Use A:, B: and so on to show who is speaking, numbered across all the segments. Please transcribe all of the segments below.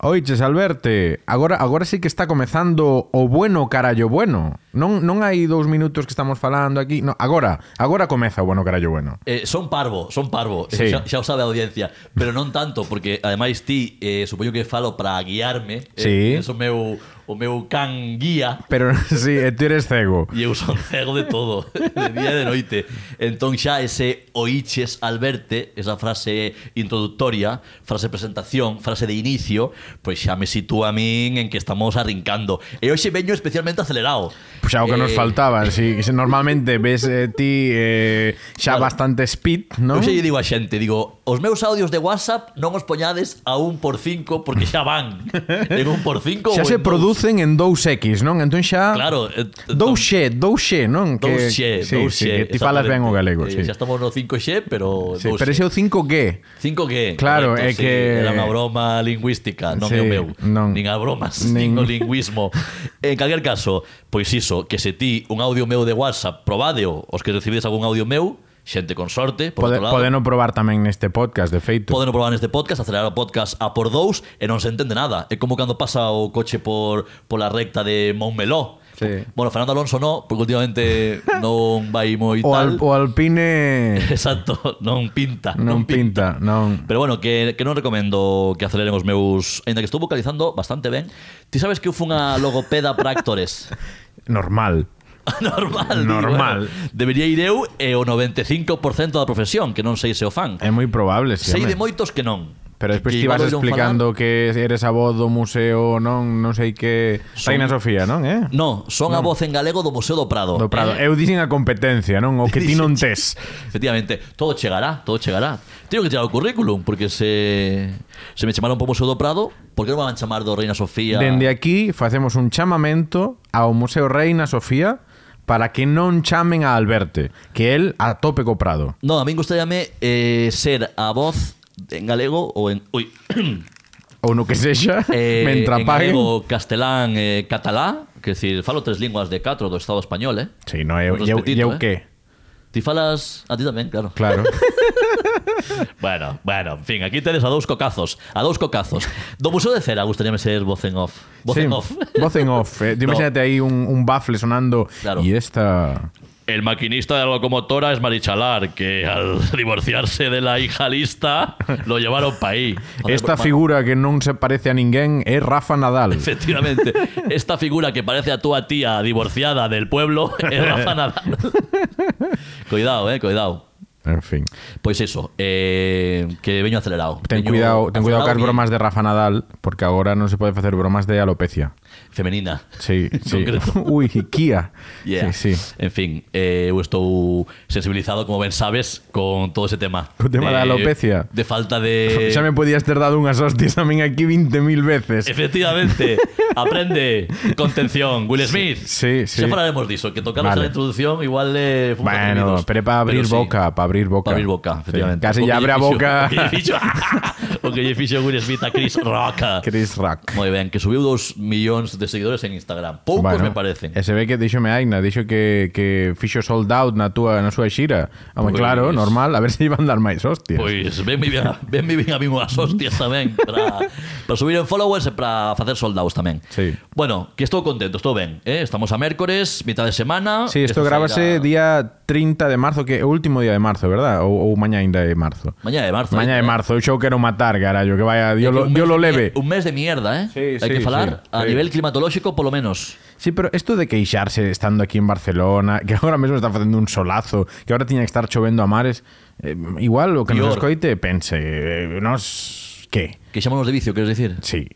A: Oiches, Alberte, agora, agora sí que está comezando o bueno carallo bueno. Non, non hai dous minutos que estamos falando aquí. No, agora, agora comeza o bueno carallo bueno.
B: Eh, son parvo, son parvo,
A: Sí.
B: sí. xa, xa o sabe a audiencia, pero non tanto porque ademais ti eh, supoño que falo para guiarme,
A: Sí.
B: eh, es o meu o meu can guía
A: Pero sí, e tú eres cego.
B: E eu son cego de todo, de día e de noite. Entón xa ese oiches al verte, esa frase introductoria, frase presentación, frase de inicio, pois xa me sitúa a min en que estamos arrincando. E hoxe veño especialmente acelerado.
A: Pois xa o que nos
B: Eh,
A: faltaba, si si normalmente ves eh, ti eh, xa
B: Claro.
A: bastante speed, non?
B: Eu xa lle digo a xente, digo, os meus audios de WhatsApp non os poñades a 1x5 porque xa van. En 1x5
A: Xa
B: ou
A: se
B: en
A: producen en 2X, non? Entón xa
B: Claro, eh,
A: Dous xe, dous xe, non? Que-
B: Dous xe,
A: sí,
B: dous
A: sí,
B: xe,
A: que ti falas ben o galego,
B: exactamente.
A: sí.
B: Eh, Xa estamos no 5G, pero
A: Sí,
B: dous
A: pero
B: xe.
A: ese é o 5G.
B: 5G.
A: Claro, é
B: sí,
A: que-
B: Era unha broma lingüística, non
A: Sí,
B: é o meu.
A: non.
B: Nin a bromas,
A: Nin-
B: nin, o lingüismo. en calquer caso, pois iso, que se ti un audio meu de WhatsApp, probadeo, os que recibides algún audio meu, xente con sorte, por
A: Pode,
B: outro lado.
A: podeno probar tamén neste podcast, de feito.
B: Poden probar neste podcast, acelerar o podcast a por dous e non se entende nada. É como cando pasa o coche por pola recta de Montmeló.
A: Sí.
B: Bueno, Fernando Alonso no, porque últimamente non vai moi
A: o, al,
B: tal.
A: o Alpine
B: Exacto, non pinta.
A: non pinta, non.
B: Pero bueno, que, que non recomendo que aceleren os meus... Ainda que estou vocalizando bastante ben. Ti sabes que eu fun a logopeda para actores?
A: Normal.
B: Normal. digo,
A: Normal.
B: eh. Debería ir eu e o 95% da profesión, que non sei se o fan.
A: É moi probable, sí.
B: sei
A: Eh,
B: de
A: home.
B: moitos que non.
A: Pero
B: Que-
A: despois
B: que
A: ti vas
B: igual oíron
A: explicando que eres a voz do museo, non, non sei que...
B: Son-
A: Reina Sofía, non, eh?
B: falar- No, son a voz en galego do Museo do Prado.
A: Do Prado.
B: Eh,
A: Eu dixen a competencia, non? O que ti non tes.
B: Efectivamente, todo chegará, todo chegará. Tengo que tirar o currículum, porque se, se me chamaron para o Museo do Prado, por que non me van chamar do Reina Sofía?
A: Dende aquí facemos un chamamento ao Museo Reina Sofía para que non chamen a Alberte, que el a tope co Prado.
B: No, a min gustaríame eh, ser a voz en galego ou en... Ui,
A: Ou no que sexa,
B: eh,
A: mentre
B: en
A: paguen.
B: galego, castelán, eh, catalá, que decir, falo tres linguas de catro do Estado español, eh?
A: Sí, no, eu,
B: Con
A: eu,
B: respetito,
A: eu
B: eh.
A: que?
B: Ti falas a ti tamén, claro.
A: Claro.
B: Bueno, bueno, en fin, aquí tenes a dous cocazos, a dous cocazos. Do Museo de Cera gustaríame ser voz en off. Voz
A: Sí,
B: en off.
A: Voz en off. Eh. Tú
B: No.
A: Imagínate ahí un, un baffle sonando
B: Claro.
A: y esta...
B: El maquinista de la locomotora es Marichalar, que al divorciarse de la hija lista lo llevaron pa aí.
A: Esta
B: figura
A: figura que non se parece a ninguén é Rafa Nadal.
B: Efectivamente, esta figura que parece a tu tía divorciada del pueblo es Rafa Nadal. cuidado, eh, cuidado.
A: En fin.
B: Pois iso, eh, que veño acelerado.
A: Ten
B: Veño
A: cuidado, ten cuidado cas
B: acelerado
A: bromas de Rafa Nadal, porque agora non se pode facer bromas de alopecia.
B: bien. Femenina.
A: Sí, sí.
B: concreto.
A: Ui, Kia.
B: Yeah.
A: Sí, sí.
B: En fin, eh, eu estou sensibilizado, como ben sabes, con todo ese tema.
A: Co tema da
B: de-
A: alopecia.
B: De falta de...
A: Xa me podías ter dado unhas hostias a min aquí 20.000 veces.
B: Efectivamente, aprende contención, Will Smith.
A: sí, sí.
B: Xa falaremos diso, que tocarnos
A: Vale.
B: a introdución igual eh, fomos
A: Bueno,
B: atrevidos.
A: pero é para abrir
B: Pero sí.
A: boca, para abrir boca.
B: Para abrir boca,
A: Sí.
B: efectivamente.
A: Casi ya
B: O que
A: abre
B: lle
A: a
B: fixo-
A: boca
B: o que lle fixo- O que lle fixo Will Smith a Chris Rock.
A: Chris Rock.
B: Moi ben, que subiu 2 millóns de seguidores en Instagram. Poucos
A: Bueno,
B: me parecen.
A: E se ve que díxome Aina, dixo que, que fixo sold out na túa na súa xira. Home,
B: Pois-
A: claro, normal, a ver se iban dar máis hostias.
B: Pois ben Pues mi bien, ben mi bien a mí unhas hostias tamén para, para subir en followers e para facer soldados tamén.
A: Sí.
B: Bueno, que estou contento, estou ben. Eh? Estamos a mércores, mitad de semana.
A: Sí, isto
B: Esto
A: grábase
B: sairá
A: día 30 de marzo, que é o último día de marzo, verdad? Ou, ou mañá ainda é marzo.
B: Mañá de marzo.
A: Mañá é
B: eh.
A: marzo, eu xa o quero matar, carallo, que vaya,
B: É
A: Dios
B: que
A: lo,
B: un
A: Dios
B: mes
A: lo
B: de
A: leve.
B: mier- Un mes de mierda, ¿eh?
A: Sí,
B: Hay
A: sí,
B: que falar
A: sí,
B: a
A: sí.
B: nivel climatológico, por lo menos.
A: Sí, pero esto de queixarse estando aquí en Barcelona, que ahora mesmo está facendo un solazo, que ahora tiña que estar chovendo a mares, eh, igual o que nos
B: Pior.
A: escoite pense, eh, nos que?
B: Que llamámonos de vicio, queres decir?
A: Sí.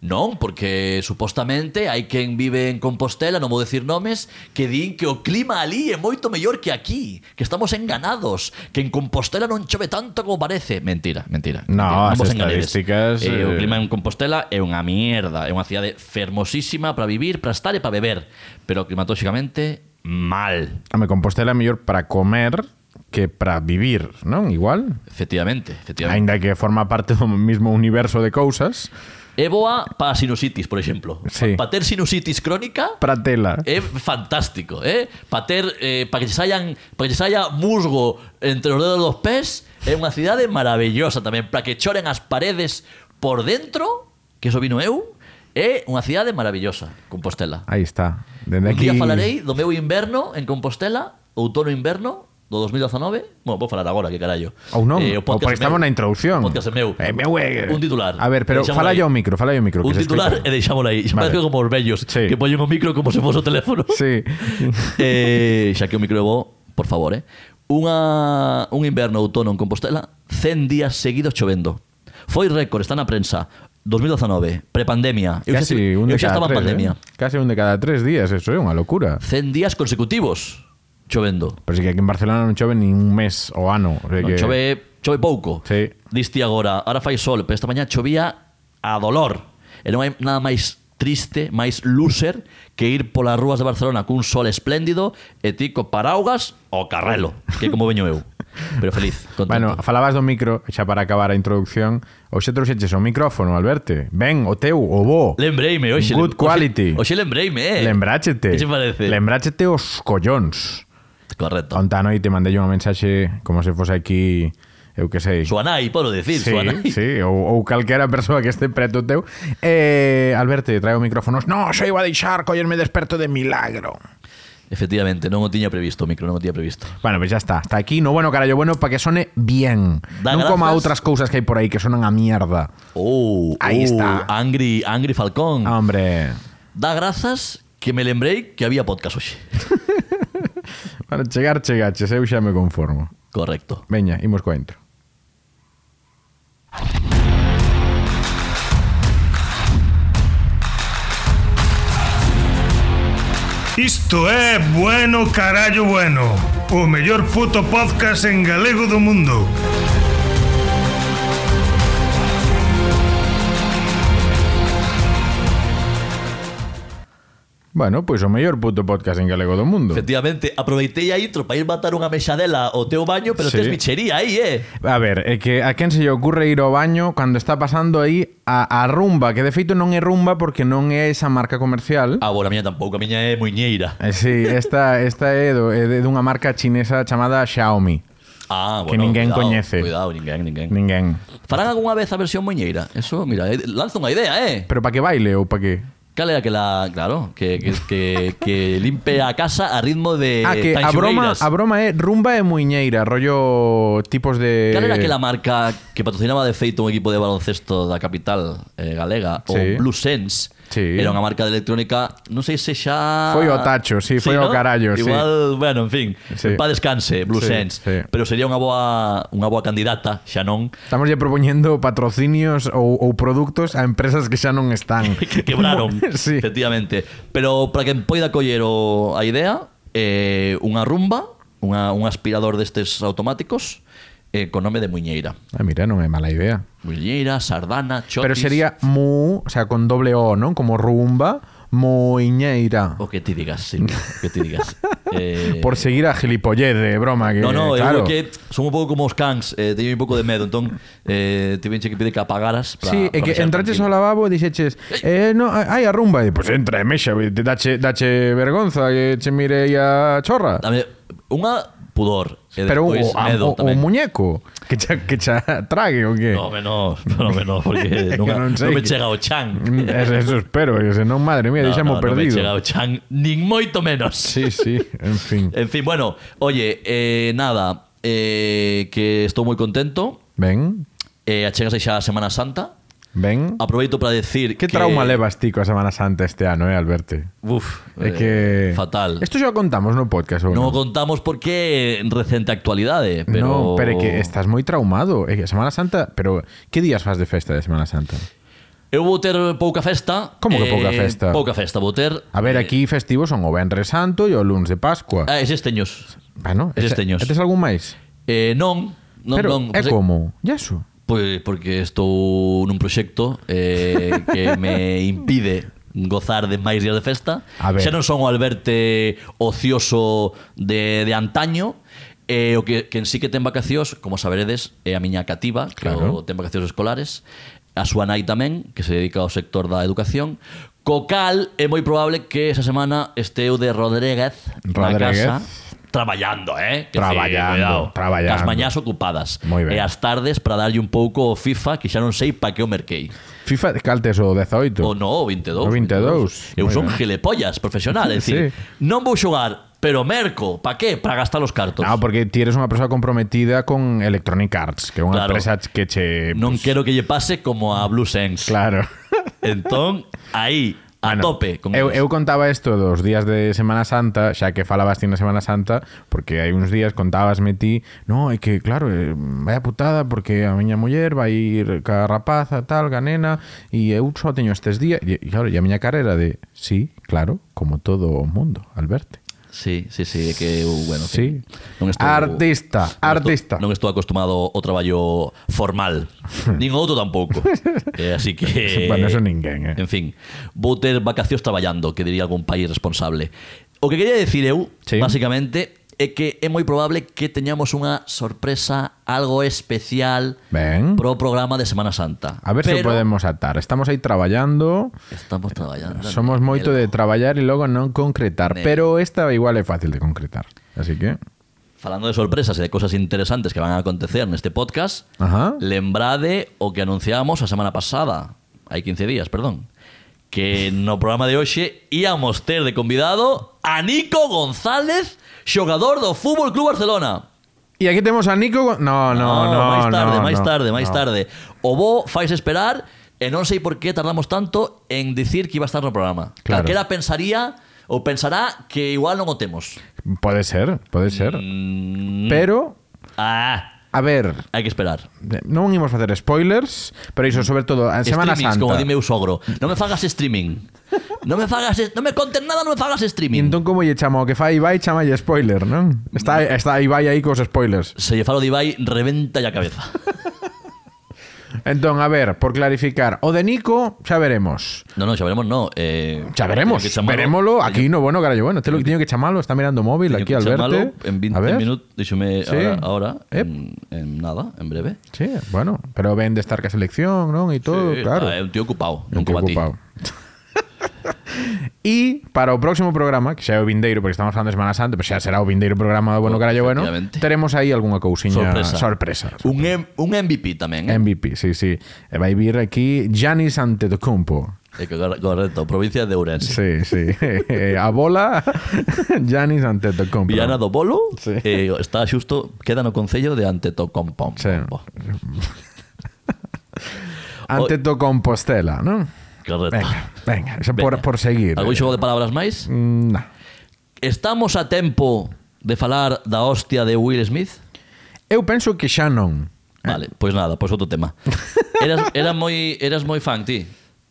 B: Non, porque supostamente hai quen vive en Compostela, non vou decir nomes, que din que o clima ali é moito mellor que aquí, que estamos enganados, que en Compostela non chove tanto como parece. Mentira, mentira.
A: No,
B: mentira.
A: as
B: vos enganedes.
A: estadísticas,
B: Eh, o
A: eh,
B: clima en Compostela é unha mierda, é unha cidade fermosísima para vivir, para estar e para beber, pero climatolóxicamente mal.
A: A Ah, me Compostela é mellor para comer que para vivir, non? Igual.
B: Efectivamente, efectivamente.
A: Ainda que forma parte do mismo universo de cousas.
B: É boa para sinusitis, por exemplo.
A: Sí.
B: Para ter sinusitis crónica
A: Para tela.
B: é fantástico, eh? Para ter eh, para que se saian, para que se saia musgo entre os dedos dos pés, é unha cidade maravillosa tamén para que choren as paredes por dentro que eso vino eu, é unha cidade maravillosa, Compostela.
A: Aí está. Dende
B: Un día
A: aquí
B: falarei do meu inverno en Compostela, outono e inverno do 2019. Bueno, vou falar agora, que carallo.
A: Ou non,
B: Eh,
A: eh,
B: o podcast
A: porque
B: é
A: estamos
B: meu.
A: na introducción.
B: O podcast é meu.
A: É meu, eh.
B: Un titular.
A: A ver, pero
B: Deixámolo
A: fala
B: aí.
A: yo ao micro, fala yo ao micro.
B: Un
A: que se
B: titular eh, e
A: escoita.
B: deixámolo aí. Xa
A: Vale.
B: parece como os vellos,
A: Sí.
B: que poñen o micro como se fose o teléfono.
A: Sí.
B: eh, xa que o micro é bo, por favor, eh. Unha, un inverno outono en Compostela, 100 días seguidos chovendo. Foi récord, está na prensa. 2019, prepandemia. Eu xa,
A: Casi
B: estive-
A: un de
B: eu xa
A: cada
B: estaba en
A: tres,
B: pandemia.
A: eh. Casi un de cada tres días, eso é unha locura.
B: 100 días consecutivos chovendo.
A: Pero sí que aquí en Barcelona non chove nin un mes o ano. O sea que...
B: Non, chove, chove pouco.
A: Sí.
B: Diste agora, ahora fai sol, pero esta mañá chovía a dolor. E non hai nada máis triste, máis loser que ir polas rúas de Barcelona cun sol espléndido e ti co paraugas o carrelo, que é como veño eu. Pero feliz,
A: Bueno,
B: contento.
A: falabas do micro, xa para acabar a introducción, hoxe trouxeches o micrófono, Alberto. Ben, o teu, o bo.
B: Lembreime, hoxe.
A: Good quality.
B: Hoxe, hoxe lembreime, eh.
A: Lembráchete.
B: Que se parece?
A: Lembráchete os collóns.
B: Correcto.
A: Onte a noite mandei unha mensaxe como se fose aquí, eu que sei.
B: Suanai, podo decir,
A: Sí,
B: Suanai.
A: sí, ou, ou calquera persoa que este preto teu eh, Alberto, trae o micrófono No, xa iba a deixar, collerme desperto de milagro
B: Efectivamente, non o tiña previsto, o micro, non o tiña previsto.
A: Bueno, pues ya está, está aquí No bueno, carallo, bueno, para que sone bien
B: Da
A: Non como a
B: grazas.
A: outras cousas que hai por aí que sonan a mierda
B: Oh,
A: Ahí
B: oh,
A: está. Ah.
B: Angry, Angry Falcón.
A: Hombre,
B: Da grazas que me lembrei que había podcast hoxe.
A: para chegar, chegaches, eu xa me conformo
B: Correcto.
A: Veña, imos coa intro
C: Isto é Bueno Carallo Bueno O mellor puto podcast en galego do mundo
A: Bueno, pois o mellor puto podcast en galego do mundo
B: Efectivamente, aproveitei a intro para ir matar unha mexadela ao teu baño, pero
A: Sí.
B: tes bichería aí, eh?
A: A ver, é que a quen se lle ocurre ir ao baño cando está pasando aí a, a rumba, que de feito non é rumba porque non é esa marca comercial.
B: Ah, bueno, a miña tampouco, a miña é muiñeira.
A: Eh, Sí, esta, esta é, do, é de- dunha marca chinesa chamada Xiaomi.
B: Ah,
A: Que
B: bueno,
A: ninguén
B: cuidado,
A: coñece.
B: Cuidado, ninguén, ninguén.
A: Ninguén.
B: Farán algunha vez a versión muiñeira? Eso, mira, eh, lanza unha idea, eh?
A: Pero para que baile ou para que...
B: Cal era que la, claro, que, que, que, que limpe a casa a ritmo de
A: ah, que a
B: Tanxo
A: broma,
B: Beiras.
A: a broma é rumba e muiñeira, rollo tipos de...
B: Cal era aquela marca que patrocinaba de feito un equipo de baloncesto da capital eh, galega,
A: Sí.
B: o Blue Sense,
A: Sí.
B: era unha marca de electrónica, non sei se xa...
A: Foi o tacho, sí, foi o carallo, sí.
B: Igual, bueno, en fin,
A: Sí.
B: sí. pa descanse, Blue
A: Sí,
B: Sense,
A: sí.
B: pero sería unha boa, unha boa candidata, xa non,
A: Estamos lle propoñendo patrocinios ou, ou produtos a empresas que xa non están.
B: que quebraron,
A: Sí.
B: efectivamente. Pero para que poida coller o, a idea, eh, unha rumba, unha, un aspirador destes automáticos, eh, con nome de Muñeira.
A: Ah, mira, non é mala idea.
B: Muñeira, Sardana, Chotis...
A: Pero sería mu, o sea, con doble O, ¿no? Como rumba, moiñeira.
B: O que te digas, sí. o Que te digas. Eh,
A: Por seguir a gilipollez de broma. Que,
B: no, no,
A: claro.
B: eu creo que son un pouco como os cans, eh, teño un pouco de medo, entón eh, te venche que pide que apagaras para
A: Sí, é que entraches ao lavabo e dixeches eh, no, hai a rumba, e, pois pues entra e mexa, e te dache, dache vergonza que che mirei a chorra.
B: Dame, unha pudor e
A: Pero o,
B: despois
A: a-
B: medo
A: o, o
B: tamén.
A: muñeco que cha, que cha trague o que?
B: No, menos, no, menos, porque
A: que
B: nunca,
A: non
B: non,
A: sei.
B: me chega o chan.
A: Mm, Eso, eso espero, que se non, madre mía, no,
B: no,
A: deixamos
B: non me
A: perdido.
B: chega o chan, nin moito menos.
A: sí, sí, en fin.
B: En fin, bueno, oye, eh, nada, eh, que estou moi contento.
A: Ben,
B: Eh, achégase xa a Semana Santa.
A: ben.
B: Aproveito para decir
A: Que
B: que...
A: trauma levas ti coa Semana Santa este ano, eh, Alberto?
B: Uf,
A: É
B: eh,
A: que...
B: fatal.
A: Esto xa o contamos no podcast, ou
B: Non o
A: non?
B: contamos porque en recente actualidade, pero...
A: No, pero é que estás moi traumado. É que Semana Santa... Pero, que días fas de festa de Semana Santa?
B: Eu vou ter pouca festa. eh,
A: Como que pouca festa?
B: Pouca festa, vou ter...
A: A ver, aquí festivos son o Benres Santo e o Luns de Pascua. Ah,
B: Ah, eses teños.
A: bueno,
B: eses teños.
A: Tes algún máis?
B: Eh, non, non,
A: pero,
B: non.
A: é
B: pois-
A: como? Yaso?
B: Pois porque estou nun proxecto eh, que me impide gozar de máis días de festa.
A: A ver.
B: Xa non son o alberte ocioso de, de antaño, e o que, que en sí que ten vacacións, como saberedes, é a miña cativa, que
A: Claro.
B: o, ten vacacións escolares, a súa nai tamén, que se dedica ao sector da educación, co cal é moi probable que esa semana esteu de Rodríguez,
A: Rodríguez.
B: na casa, traballando, eh? Que
A: Traballando,
B: cuidado.
A: traballando.
B: Cas mañás ocupadas.
A: Moi ben.
B: E as tardes para darlle un pouco o FIFA, que xa non sei pa que o merquei.
A: FIFA caltes o 18.
B: O no, o 22.
A: O 22. Moi
B: Eu son
A: ben.
B: gilepollas profesional, é dicir,
A: Sí.
B: non vou xogar, pero merco, pa qué? Para gastar os cartos.
A: No, porque ti eres unha persoa comprometida con Electronic Arts, que é unha
B: Claro.
A: empresa que che...
B: non quero que lle pase como a Blue Sense.
A: Claro.
B: Entón, aí, a
A: Bueno,
B: tope con
A: eu,
B: eles.
A: eu contaba isto dos días de Semana Santa, xa que falabas ti na Semana Santa, porque hai uns días contabasme ti, no, é que claro, eh, vaya putada porque a miña muller vai ir ca rapaza, tal, ca nena, e eu só teño estes días, e e claro, e a miña cara era de, sí, claro, como todo o mundo, Alberto.
B: Sí, sí, sí, é que eu, bueno,
A: Sí.
B: non estou-
A: Artista, artista.
B: Estou, non estou acostumado ao traballo formal. Nin outro tampouco. eh, así que
A: Bueno, eso ninguén, eh.
B: En fin, vou ter vacacións traballando, que diría algún país responsable. O que quería decir eu,
A: Sí.
B: basicamente, é que é moi probable que teñamos unha sorpresa algo especial
A: Ben.
B: pro programa de Semana
A: Mm.
B: Santa.
A: A ver se
B: Pero
A: podemos atar. Estamos aí traballando,
B: Estamos traballando. eh.
A: somos moito de traballar e logo non concretar,
B: Nel.
A: pero esta igual é fácil de concretar. Así que,
B: Falando de sorpresas e de cosas interesantes que van a acontecer neste podcast,
A: ajá.
B: lembrade o que anunciábamos a semana pasada, hai 15 días, perdón, que no programa de hoxe íamos ter de convidado a Nico González, xogador do Fútbol Club Barcelona. Ah,
A: E aquí temos a Nico. Go- No, no, no.
B: máis tarde,
A: no,
B: máis
A: no,
B: tarde, máis
A: no.
B: tarde. O bo fais esperar e non sei por que tardamos tanto en dicir que iba a estar no programa.
A: Claro.
B: Calquera pensaría ou pensará que igual non o temos.
A: Pode ser, pode ser.
B: Mm,
A: Pero,
B: ah,
A: a ver,
B: hai que esperar.
A: non imos facer spoilers, pero iso sobre todo a Semana
B: Streamings,
A: Santa.
B: como dime eu sogro. Non me fagas streaming. Non me fagas, es- non me contes nada, non me fagas
A: E
B: streaming.
A: entón como lle chamo o que fai Ibai, chamalle spoiler, non? Está, está Ibai aí cos spoilers.
B: Se lle falo de Ibai, reventa a cabeza.
A: Entón, a ver, por clarificar, o de Nico xa veremos.
B: No, no, xa veremos, no. Eh,
A: Xa veremos,
B: teño que chamalo-
A: verémoslo aquí no bueno, carallo, bueno, te lo que teño que chamalo, está mirando o móvil
B: teño
A: aquí
B: que
A: Alberto.
B: chamalo En 20
A: a ver.
B: minutos, díxome
A: Sí.
B: ahora, ahora
A: Ep.
B: en, en nada, en breve.
A: Sí, bueno, pero ven de estar ca selección, non? E todo,
B: Sí,
A: Oh, claro.
B: está, É un tío ocupado,
A: Non
B: non como a ti.
A: preocupado. E para o próximo programa, que xa é o vindeiro, porque estamos falando de Semana Santa, pero xa será o vindeiro programa do Bueno
B: Pois,
A: Carallo Bueno,
B: efectivamente.
A: teremos aí algunha cousiña
B: Sorpresa.
A: sorpresa.
B: Un, em- un MVP tamén, eh?
A: MVP, sí, sí. E vai vir aquí Giannis Antetokounmpo.
B: É Eh, que cor- Correcto, provincia de Ourense.
A: Sí, sí. Eh, a bola Giannis Antetokounmpo.
B: Villana do Bolo
A: Sí.
B: eh, está xusto, queda no Concello de Antetokounmpo.
A: Sí. Antetokounmpostela, non?
B: Correcto.
A: Venga, venga, xa por,
B: Veña.
A: por seguir.
B: Algún xogo de palabras máis?
A: Mm, nah.
B: Estamos a tempo de falar da hostia de Will Smith?
A: Eu penso que xa non.
B: Vale, pois nada, pois outro tema. Eras, eras moi eras moi fan ti.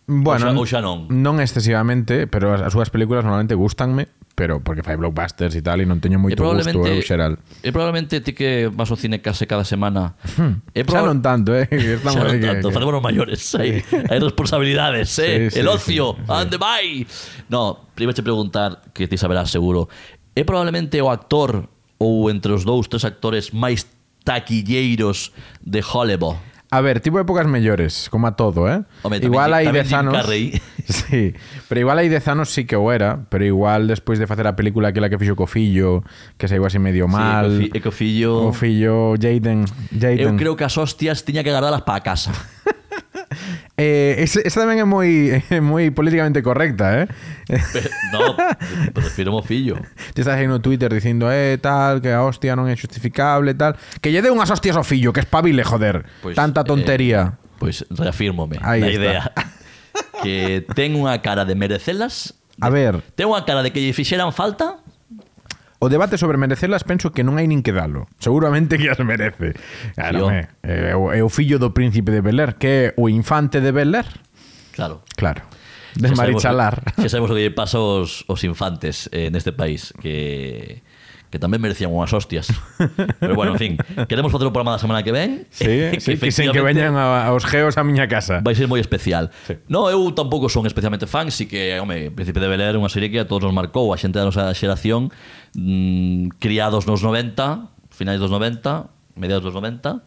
A: Bueno,
B: Ou xa- ou xa non.
A: Non excesivamente, pero as, as súas películas normalmente gustanme, pero porque fai blockbusters e tal e non teño
B: E
A: moito gusto eu xeral.
B: E probablemente ti que vas ao cine case cada semana.
A: Hmm.
B: E
A: Xa non tanto, eh. Estamos
B: Xa non
A: aí que- que-
B: tanto, facemos os maiores hai, hai responsabilidades, eh?
A: Sí, sí,
B: El ocio,
A: sí, sí.
B: ande vai No, primeiro che preguntar que ti saberás seguro É probablemente o actor ou entre os dous, tres actores máis taquilleiros de Hollywood
A: A ver, tipo épocas mellores, como a todo, eh?
B: Home, tamén
A: igual
B: Jim-
A: hai
B: tamén
A: 10
B: Jim
A: anos.
B: Carrey.
A: Sí, pero igual hai 10 anos sí que o era, pero igual despois de facer a película aquela que fixo co fillo, que saiu así medio mal.
B: e co fi- e co fillo-
A: Co fillo Jaden,
B: Eu
A: Jaden.
B: creo que as hostias tiña que guardalas para casa
A: Eh, ese- esa tamén é moi é moi políticamente correcta, eh?
B: Pero- No, prefiero mo fillo
A: Te estás aí no Twitter dicindo, eh, tal, que a hostia non é justificable, tal. Que lle dé unhas hostias ao fillo, que espabile, joder.
B: Pois,
A: Tanta tontería.
B: Pois Pues reafírmome
A: Aí
B: na
A: está.
B: idea Que ten unha cara de merecelas
A: A ver,
B: Ten unha cara de que lle fixeran falta
A: o debate sobre merecerlas penso que non hai nin que dalo. Seguramente que as merece.
B: Tío.
A: Claro, me, é, o, é o fillo do príncipe de Beler, que é o infante de Beler.
B: Claro
A: Claro. De
B: Xa sabemos
A: Marichalar.
B: o- Xa sabemos o que lle pasa aos, aos infantes eh, neste país que que tamén merecían unhas hostias. Pero bueno, en fin, queremos facer o programa da semana que ven.
A: Sí, sí, que sen que
B: efectivamente
A: veñan a- aos geos a miña casa.
B: vai ser moi especial. Sí. No, eu tampouco son especialmente fan, si que, home, Príncipe de Bel Air é unha serie que a todos nos marcou, a xente da nosa xeración, mm, criados nos 90, finais dos 90, mediados dos 90,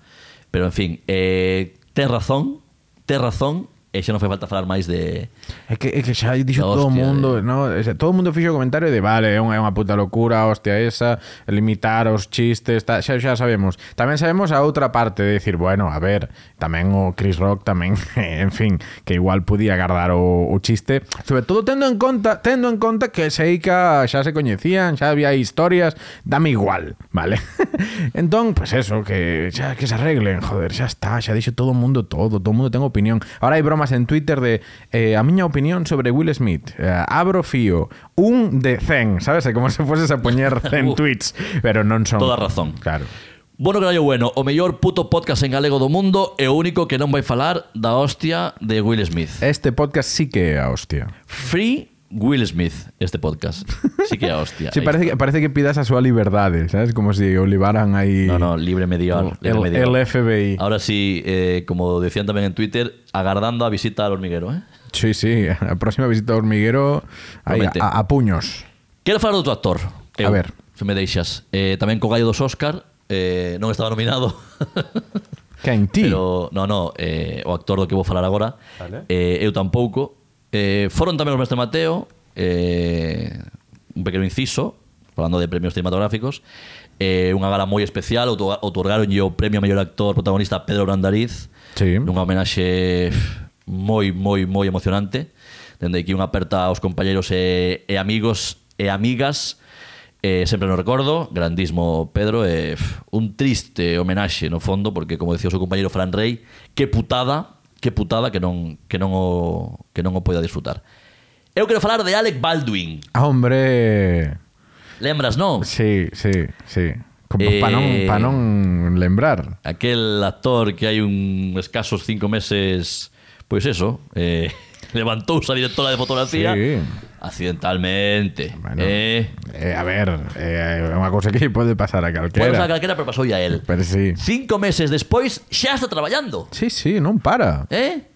B: pero en fin, eh, ten razón, ten razón e xa non fai falta falar máis de...
A: É que, é que xa hai dixo
B: Da
A: todo o
B: hostia,
A: mundo, no? E xa- todo o mundo fixo o comentario de vale, é unha, é unha puta locura, hostia esa, limitar os chistes, ta, xa, xa sabemos. Tamén sabemos a outra parte de decir, bueno, a ver, tamén o Chris Rock tamén, en fin, que igual podía guardar o, o chiste, sobre todo tendo en conta, tendo en conta que Seika xa se coñecían, xa había historias, dame igual, vale? entón, pues eso, que xa que se arreglen, joder, xa está, xa dixo todo o mundo todo, todo o mundo ten opinión. Ahora hai bromas en Twitter de eh, a miña opinión sobre Will Smith. Eh, abro fío, un de 100, sabes? É como se foses a poñer 100 tweets, pero non son.
B: Toda razón.
A: Claro.
B: Bueno, carallo bueno, o mellor puto podcast en galego do mundo e o único que non vai falar da hostia de Will Smith.
A: Este podcast sí que é a hostia.
B: Free Will Smith, este podcast. Sí que é a hostia.
A: Sí,
B: Ahí
A: parece que, parece que pidas a súa liberdade, sabes? Como se si o libaran aí
B: No, no, libre medial. libre
A: el,
B: medial.
A: el FBI.
B: Ahora sí, eh, como decían también en Twitter, agardando a visita al hormiguero, ¿eh?
A: Sí, sí, a próxima visita ao hormiguero aí,
B: Promete.
A: a, a puños.
B: Quero falar do outro actor.
A: A ver.
B: Se me deixas. Eh, tamén co gallo dos Óscar, eh, non estaba nominado.
A: Quen ti?
B: Pero, no, no, eh, o actor do que vou falar agora.
A: Vale.
B: Eh, eu tampouco. Eh, foron tamén os mestres Mateo, eh, un pequeno inciso, falando de premios cinematográficos, eh, unha gala moi especial, outu- outorgaronlle o premio a mellor actor protagonista a Pedro Brandariz,
A: Sí.
B: nunha homenaxe moi, moi, moi emocionante dende aquí unha aperta aos compañeros e, e amigos e amigas eh, sempre no recordo, grandismo Pedro e pf, un triste homenaxe no fondo, porque como decía o seu compañeiro Fran Rey que putada, que putada que non, que non o, que non o poida disfrutar Eu quero falar de Alec Baldwin
A: Ah, hombre.
B: Lembras, non?
A: Sí, sí, sí. Como
B: Eh,
A: pa non, pa non lembrar.
B: Aquel actor que hai un escasos cinco meses, pois eso, eh, levantouse a directora de fotografía
A: Sí.
B: accidentalmente.
A: Bueno,
B: eh,
A: Eh, a ver, eh, é unha cousa que pode pasar a
B: Podemos falar
A: calquera.
B: calquera, pero pasou a él.
A: Pero sí.
B: Cinco meses despois xa está traballando.
A: Sí, sí, non para.
B: Eh?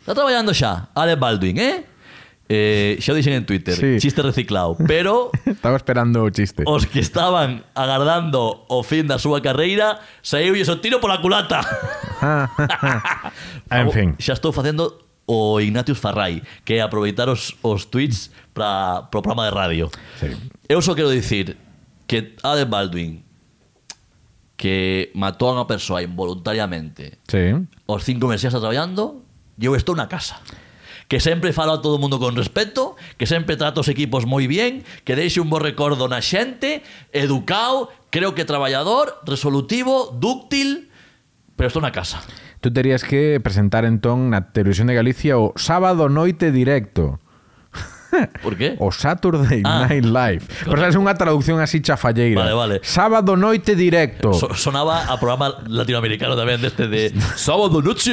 B: Está traballando xa, Alec Baldwin, eh? eh xa o dixen en Twitter,
A: Sí.
B: chiste reciclado. Pero
A: Estaba esperando o chiste.
B: os que estaban agardando o fin da súa carreira saiu o tiro pola culata.
A: en fin.
B: Xa estou facendo o Ignatius Farray, que é aproveitar os, os tweets para pro programa de radio.
A: Sí.
B: Eu só quero dicir que Alec Baldwin que matou a unha persoa involuntariamente
A: Sí.
B: os cinco meses xa está traballando, eu estou na casa. Que sempre falo a todo o mundo con respeto, que sempre trato os equipos moi bien, que deixe un bo recordo na xente, educado, creo que traballador, resolutivo, dúctil, pero estou na casa.
A: Tú terías que presentar entón na televisión de Galicia o sábado noite directo.
B: Por que?
A: O Saturday
B: Ah.
A: Night Live. Pero sabes, unha traducción así chafalleira.
B: Vale, vale.
A: Sábado noite directo.
B: So- sonaba a programa latinoamericano tamén deste de Sábado noche.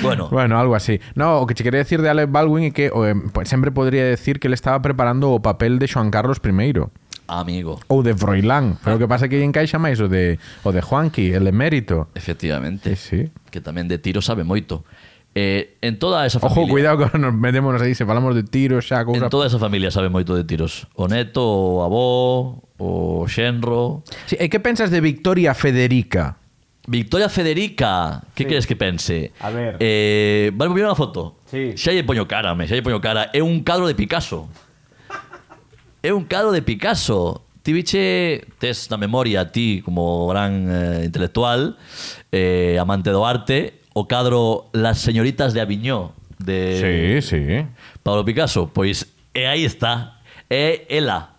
B: Bueno,
A: Bueno, algo así. No, o que te quería decir de Alec Baldwin es que o, eh, pues, siempre podría decir que él estaba preparando o papel de Juan Carlos I
B: amigo,
A: ou de Froilán. Pero o que pasa é que aí encaixa máis o de, o de Juanqui, el emérito.
B: efectivamente,
A: Sí, sí.
B: que tamén de tiro sabe moito. Eh, en toda esa familia,
A: Ojo, cuidado que nos metémonos aí, se falamos de tiros xa,
B: en
A: cousa...
B: toda esa familia sabe moito de tiros. O neto, o avó, o xenro.
A: Sí, e que pensas de Victoria Federica?
B: Victoria Federica, que sí. crees que pense?
A: A ver.
B: Eh, vale, vou unha foto.
A: Sí.
B: Xa lle poño cara, me, xa lle poño cara. É un cadro de Picasso. É un cadro de Picasso. Ti biche, tes na memoria ti como gran eh, intelectual, eh, amante do arte, o cadro Las señoritas de Aviñó de
A: sí.
B: Pablo Picasso. Pois e aí está. É ela.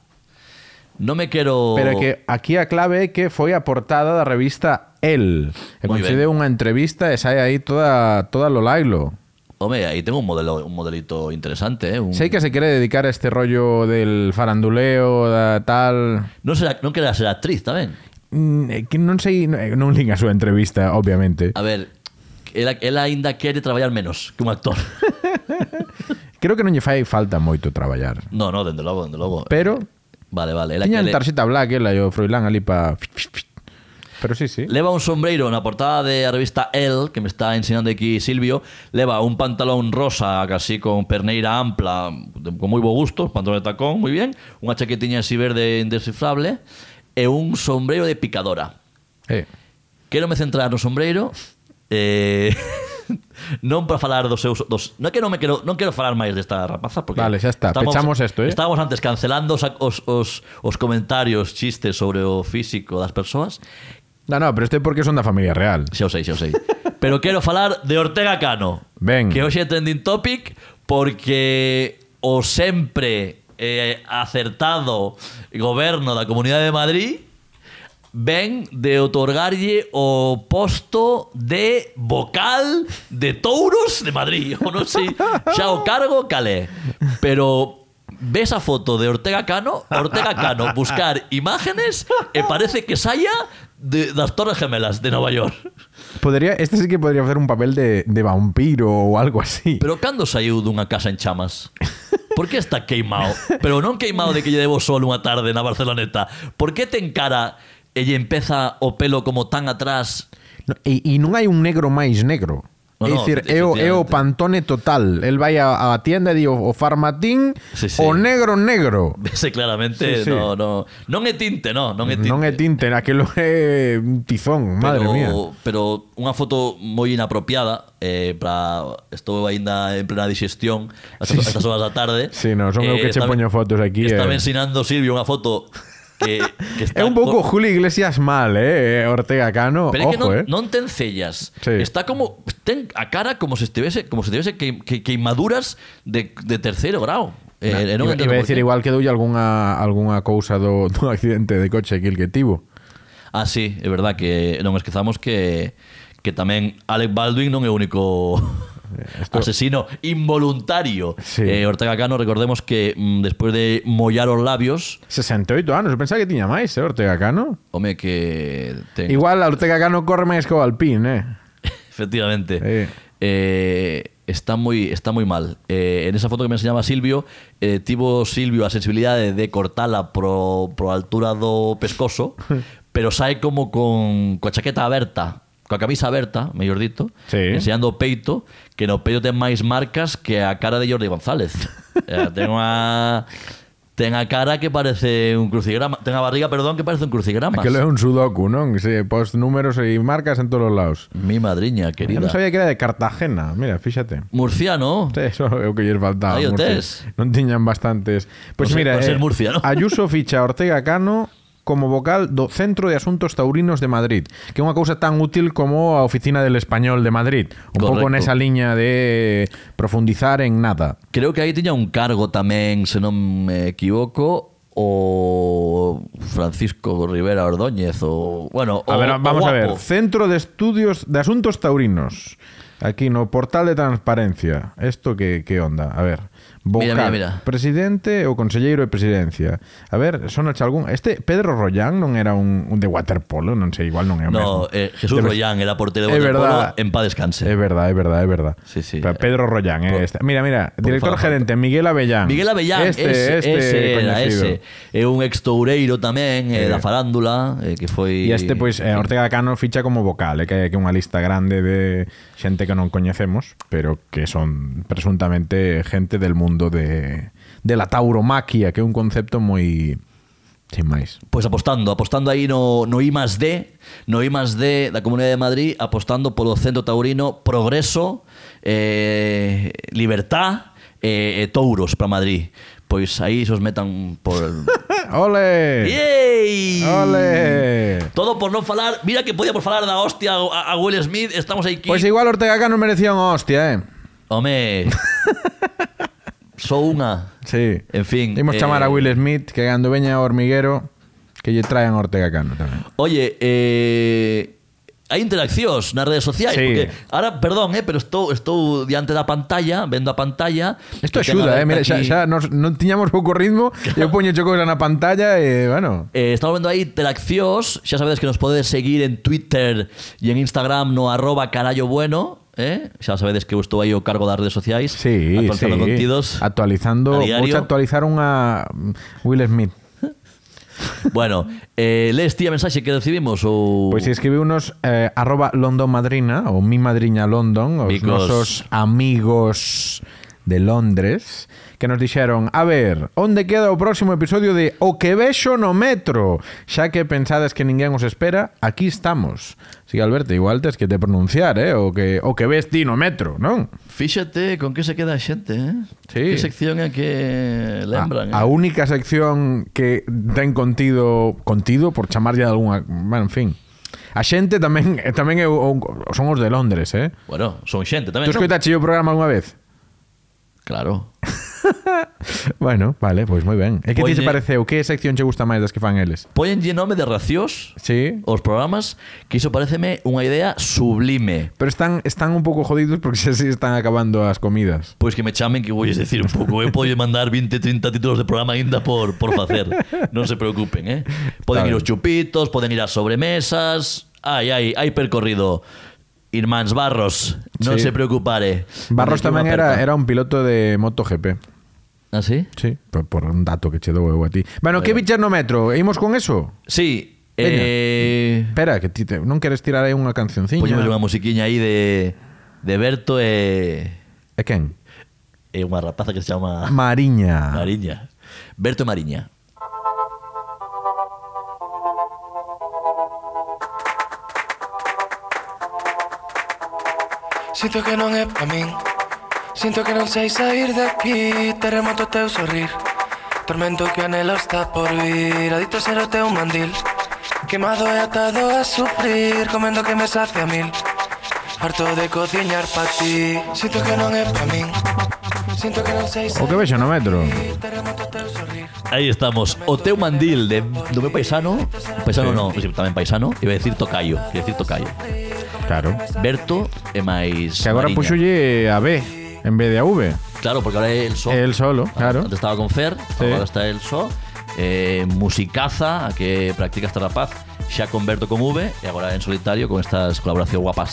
B: Non me quero
A: Pero é que aquí a clave é que foi a portada da revista El. E
B: Moi
A: concede
B: ben.
A: unha entrevista e sai aí toda, toda lo lailo.
B: Home, aí tengo un modelo, un modelito interesante, eh, un
A: Sei que se quiere dedicar a este rollo del faranduleo, da tal...
B: Non, será, non quererá ser actriz tamén.
A: Mm, eh, que non sei, no- eh, non link a súa entrevista, obviamente.
B: A ver, ela, ela ainda quere traballar menos que un actor.
A: Creo que non lle fai falta moito traballar.
B: No, no, dende logo, dende logo.
A: Pero
B: Vale, vale. Ela
A: tiñan
B: quere...
A: tarxeta black ela e o Froilán ali pa Pero sí, sí.
B: Leva un sombreiro na portada de a revista El, que me está enseñando aquí Silvio, leva un pantalón rosa casi con perneira ampla, de- con moi bo gusto, pantalón de tacón, moi bien, unha chaquetiña así verde indescifrable e un sombreiro de picadora.
A: Eh,
B: Quero me centrar no sombreiro eh, non para falar dos seus dos, non é que non me quero, non quero falar máis desta rapaza porque
A: Vale, xa está, pechamos esto, eh.
B: Estábamos antes cancelando os, os, os, os comentarios, chistes sobre o físico das persoas.
A: No, no, pero este porque son da familia real.
B: Xa o sei, xa o sei. Pero quero falar de Ortega Cano.
A: Ben.
B: Que hoxe é trending topic porque o sempre eh, acertado goberno da Comunidade de Madrid ven de otorgarlle o posto de vocal de touros de Madrid. O non sei, xa o cargo calé. Pero ves a foto de Ortega Cano, Ortega Cano buscar imágenes e parece que saia de, das Torres Gemelas de Nova York.
A: Podría, este sí que podría hacer un papel de, de vampiro o algo así.
B: Pero cando saiu dunha casa en chamas? Por que está queimado? Pero non queimado de que lle debo sol unha tarde na Barceloneta. Por que ten cara e lle empeza o pelo como tan atrás?
A: No, e, e non hai un negro máis negro.
B: No,
A: é
B: no,
A: dicir, é o, é o
B: efectivamente.
A: pantone total. El vai a, a tienda e di o, o farmatín
B: Sí, sí.
A: o negro negro.
B: Vese claramente,
A: Sí, sí.
B: no, no, non é tinte, no, non é tinte.
A: Non é tinte, aquilo é un tizón, madre
B: pero,
A: mía.
B: Pero unha foto moi inapropiada eh, para estou aínda en plena digestión a
A: Sí, sí.
B: estas horas da tarde.
A: Sí, no, son eu que che
B: estaba-
A: poño fotos aquí,
B: Estaba
A: eh.
B: ensinando Silvio unha foto que, que está
A: É un pouco
B: co-
A: Julio Iglesias mal, eh, Ortega Cano.
B: Pero é que
A: Ojo,
B: non,
A: eh.
B: non ten cellas.
A: Sí.
B: Está como ten a cara como se estivese, como se estivese que, que, queimaduras de, de terceiro grau. Eh, e non
A: iba,
B: entendo
A: iba a
B: por
A: decir
B: qué.
A: igual que doulle algunha algunha cousa do, do accidente de coche que el que tivo.
B: Ah, sí, é verdad que non esquezamos que que tamén Alec Baldwin non é o único asesino involuntario.
A: Sí.
B: Eh, Ortega Cano, recordemos que mm, despois de mollar os labios,
A: 68 anos, eu pensaba que tiña máis, eh, Ortega Cano.
B: home que ten,
A: Igual a Ortega Cano corre máis que o Alpine, eh.
B: Efectivamente.
A: Eh.
B: Eh, está moi está moi mal. Eh, en esa foto que me enseñaba Silvio, eh, tivo Silvio a sensibilidade de cortala pro, pro altura do pescoso, pero sae como con coa chaqueta aberta, coa camisa aberta, mellor dito,
A: Sí.
B: enseñando o peito, que no peito ten máis marcas que a cara de Jordi González. eh, ten unha ten a cara que parece un crucigrama, ten a barriga, perdón, que parece un crucigrama.
A: Aquilo é un sudoku, non? Que Se pos números e marcas en todos os lados.
B: Mi madriña
A: Eu
B: querida.
A: non sabía que era de Cartagena. Mira, fíxate.
B: Murciano.
A: Sí, Eso é o que lles faltaba.
B: Aí o
A: Murcia.
B: tes.
A: Non tiñan bastantes. Pois
B: Por ser-
A: mira, eh,
B: por ser Murcia, ¿no?
A: Ayuso ficha a Ortega Cano como vocal do Centro de Asuntos Taurinos de Madrid, que é unha cousa tan útil como a Oficina del Español de Madrid. Un pouco
B: Correcto.
A: nesa liña de profundizar en nada.
B: Creo que aí tiña un cargo tamén, se non me equivoco, o Francisco Rivera Ordóñez o bueno,
A: A
B: o,
A: ver,
B: o
A: vamos a ver.
B: guapo.
A: Centro de Estudios de Asuntos Taurinos. Aquí no portal de transparencia. Esto que que onda? A ver. Vocal,
B: Mira, mira, mira.
A: presidente ou conselleiro de presidencia. A ver, son algún. Este Pedro Rollán non era un, un de waterpolo, non sei, igual non é o
B: No,
A: mesmo.
B: eh, Jesús
A: Debe-
B: Royán era portero
A: É
B: de waterpolo
A: verdad.
B: en paz descanse.
A: É verdad, é verdad, é verdad.
B: Sí, sí.
A: Pero Pedro Rollán, eh,
B: Por-
A: este. Mira, mira, director
B: favor.
A: gerente Miguel Avellán.
B: Miguel Avellán,
A: este,
B: ese,
A: este
B: ese era,
A: coñecido.
B: ese. É un ex toureiro tamén,
A: Eh.
B: eh, da farándula, eh, que foi
A: E este, pois, eh, Ortega Cano ficha como vocal, eh, que é que é unha lista grande de xente que non coñecemos, pero que son presuntamente gente del mundo de, de la tauromaquia, que é un concepto moi... Sin máis.
B: Pois apostando, apostando aí no, no I más D, no I más D da Comunidade de Madrid, apostando polo centro taurino progreso, eh, libertad eh, e touros para Madrid. Pois aí se os metan por...
A: Eh, Ole!
B: ¡Yey!
A: Ole!
B: Todo por non falar... Mira que podíamos falar da hostia a, a Will Smith, estamos aquí...
A: Pois Pues igual Ortega Cano merecía unha hostia, eh?
B: Home... Só unha.
A: Sí.
B: En fin,
A: Imos
B: eh,
A: chamar a Will Smith, que cando veña ao hormiguero, que lle traen a Ortega Cano tamén.
B: Oye, eh, hai interaccións nas redes sociais
A: Sí.
B: porque ahora, perdón, eh, pero estou estou diante da pantalla, vendo a pantalla.
A: Isto
B: que ten
A: axuda,
B: aberta
A: eh? Mira, xa,
B: aquí-
A: xa nos, non tiñamos pouco ritmo, eu poño chocos na pantalla e, bueno...
B: Eh, estamos vendo aí interaccións Xa sabedes que nos podedes seguir en Twitter E en Instagram no arroba carallo bueno eh? Xa sabedes que eu estou aí o cargo das redes sociais
A: Sí,
B: actualizando
A: sí.
B: contidos
A: Actualizando,
B: a diario.
A: vamos a actualizar unha Will Smith.
B: Bueno, eh, lees ti a mensaxe que recibimos ou...
A: Pois escribiu Pues unos eh, arroba London Madrina ou mi madriña London, os
B: Micos.
A: nosos amigos de Londres que nos dixeron a ver, onde queda o próximo episodio de O que vexo no metro xa que pensades que ninguén os espera aquí estamos Sí, Alberto, igual tes que te pronunciar, eh? O que, o que ves ti no metro, non?
B: Fíxate con que se queda a xente, eh?
A: Sí. Ah,
B: Que sección é que lembran,
A: a, a
B: eh?
A: única sección que ten contido contido por chamarlle de algunha, bueno, en fin. A xente tamén eh, tamén é o- o- son os de Londres, eh?
B: Bueno, son xente tamén,
A: Tú
B: non?
A: escoitache o programa unha vez?
B: Claro.
A: Bueno, vale, pois moi ben. E que ti
B: Pois,
A: te
B: eh,
A: pareceu? Que sección che gusta máis das que fan eles?
B: Póñenlle nome de racións
A: Sí.
B: os programas, que iso pareceme unha idea sublime.
A: Pero están están un pouco jodidos porque xa se están acabando as comidas.
B: Pois que me chamen que vou decir un pouco Eu podo mandar 20, 30 títulos de programa ainda por, por facer Non se preocupen, eh Poden
A: Está
B: ir
A: ben.
B: os chupitos, poden ir as sobremesas Ai, ai, hai percorrido Irmáns Barros, non
A: Sí.
B: se preocupare
A: Barros
B: Non
A: tamén
B: lle
A: era eh,
B: unha perca.
A: era un piloto de MotoGP.
B: Ah, sí?
A: Sí, por, por un dato que che dou eu a ti. Bueno, que
B: ben.
A: bichar no metro? Imos con eso?
B: Sí,
A: Veña.
B: eh,
A: Espera, que ti te, non queres tirar aí unha cancionciña?
B: Poñemos unha musiquiña aí de, de Berto e,
A: E quen?
B: e unha rapaza que se chama
A: Mariña.
B: Mariña Berto e Mariña
D: Sito que non é pa min Sinto que non sei sair de aquí Terremoto é teu sorrir Tormento que o anhelo está por vir Adicto a ser o teu mandil Quemado e atado a sufrir Comendo que me sacia mil Harto de cociñar pa ti Sinto que non é pa min Sinto que non sei
A: O
D: sair
A: que vexo no metro?
D: de aquí, Terremoto é teu sorrir
B: Aí estamos, o teu mandil de, do meu paisano Paisano non, sí, tamén paisano Iba a decir tocayo, quería decir tocayo
A: Claro.
B: Berto e máis
A: Que agora
B: Mariña.
A: puxulle a B en vez de a V.
B: Claro, porque agora é el só
A: El solo, claro.
B: Antes estaba con Fer,
A: Sí.
B: agora está el só eh, Musicaza, a que practica este rapaz Xa con Berto con V E agora en solitario con estas colaboracións guapas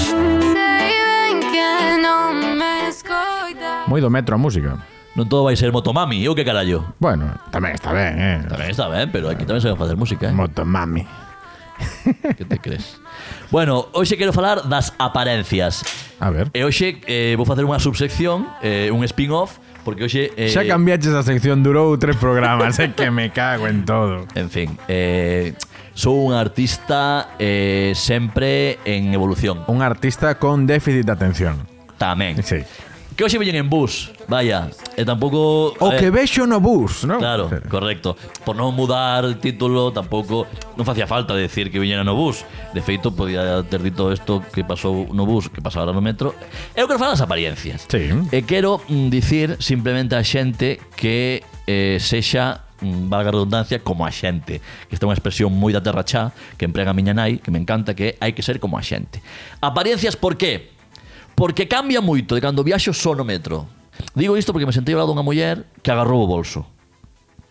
E: Saben que no me escoitan.
A: Moi do metro a música.
B: Non todo vai ser Motomami, eu que carallo
A: Bueno, tamén está ben, eh?
B: Tamén está ben, pero aquí tamén saben facer música, eh?
A: Motomami.
B: que te crees? Bueno, hoxe quero falar das aparencias
A: A ver.
B: E hoxe eh, vou facer unha subsección, eh, un spin-off, porque hoxe... Eh,
A: Xa cambiaches a sección, durou tres programas, é que me cago en todo.
B: En fin, eh, sou un artista eh, sempre en evolución.
A: Un artista con déficit de atención.
B: Tamén.
A: Sí.
B: Que hoxe veñen en bus, vaya. E tampouco...
A: O
B: a
A: que
B: ver,
A: vexo no bus, non?
B: Claro, correcto. Por non mudar o título, tampouco non facía falta decir que viñera no bus. De feito, podía ter dito isto que pasou no bus, que pasa ahora no metro. Eu quero falar das apariencias.
A: Sí.
B: E quero mm, dicir simplemente a xente que eh, sexa mm, valga a redundancia, como a xente que esta é unha expresión moi da terra chá que emprega a miña nai, que me encanta que é hai que ser como a xente apariencias por qué? porque cambia moito de cando viaxo só no metro digo isto porque me sentei ao lado dunha muller que agarrou o bolso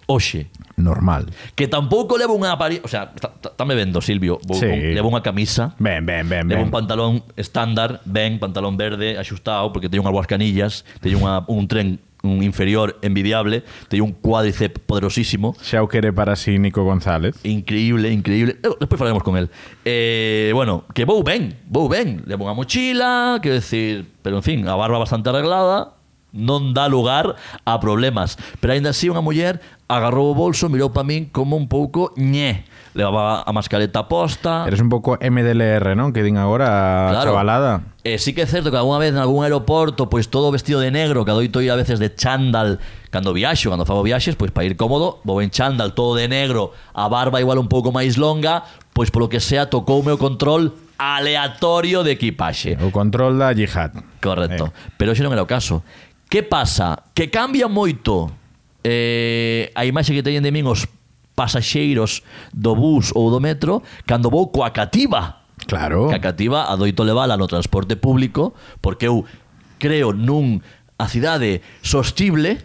B: hoxe
A: Normal.
B: que tampouco levo unha apariencia o sea, está, está- está me vendo Silvio vou,
A: Sí.
B: con- levo unha camisa
A: Ben, ben, ben,
B: Levo
A: ben.
B: un pantalón estándar, ben, pantalón verde, axustado, porque teño unhas boas canillas, teño unha, un tren un inferior envidiable, teño un cuádriceps poderosísimo,
A: Xa o quere para si Nico González.
B: increíble, increíble. Eh, Despois falaremos con el. Eh, bueno, que vou ben, vou ben. Levo unha mochila, quero decir, pero en fin, a barba bastante arreglada, non dá lugar a problemas. Pero aínda así unha muller agarrou o bolso, mirou para min como un pouco ñe. Levaba a mascareta posta.
A: Eres un pouco MDLR, non? Que din agora a chavalada.
B: Eh, sí que é certo que algunha vez en algún aeroporto, pois todo vestido de negro, que adoito ir a veces de chándal cando viaxo, cando fago viaxes, pois para ir cómodo, vou en chándal todo de negro, a barba igual un pouco máis longa, pois polo que sea tocoume o control aleatorio de equipaxe.
A: O control da yihad.
B: Correcto. Pero ese non era o caso. Que pasa? Que cambia moito eh, a imaxe que teñen de min os pasaxeiros do bus ou do metro cando vou coa cativa.
A: Claro.
B: Que a cativa adoito levala no transporte público porque eu creo nun a cidade sostible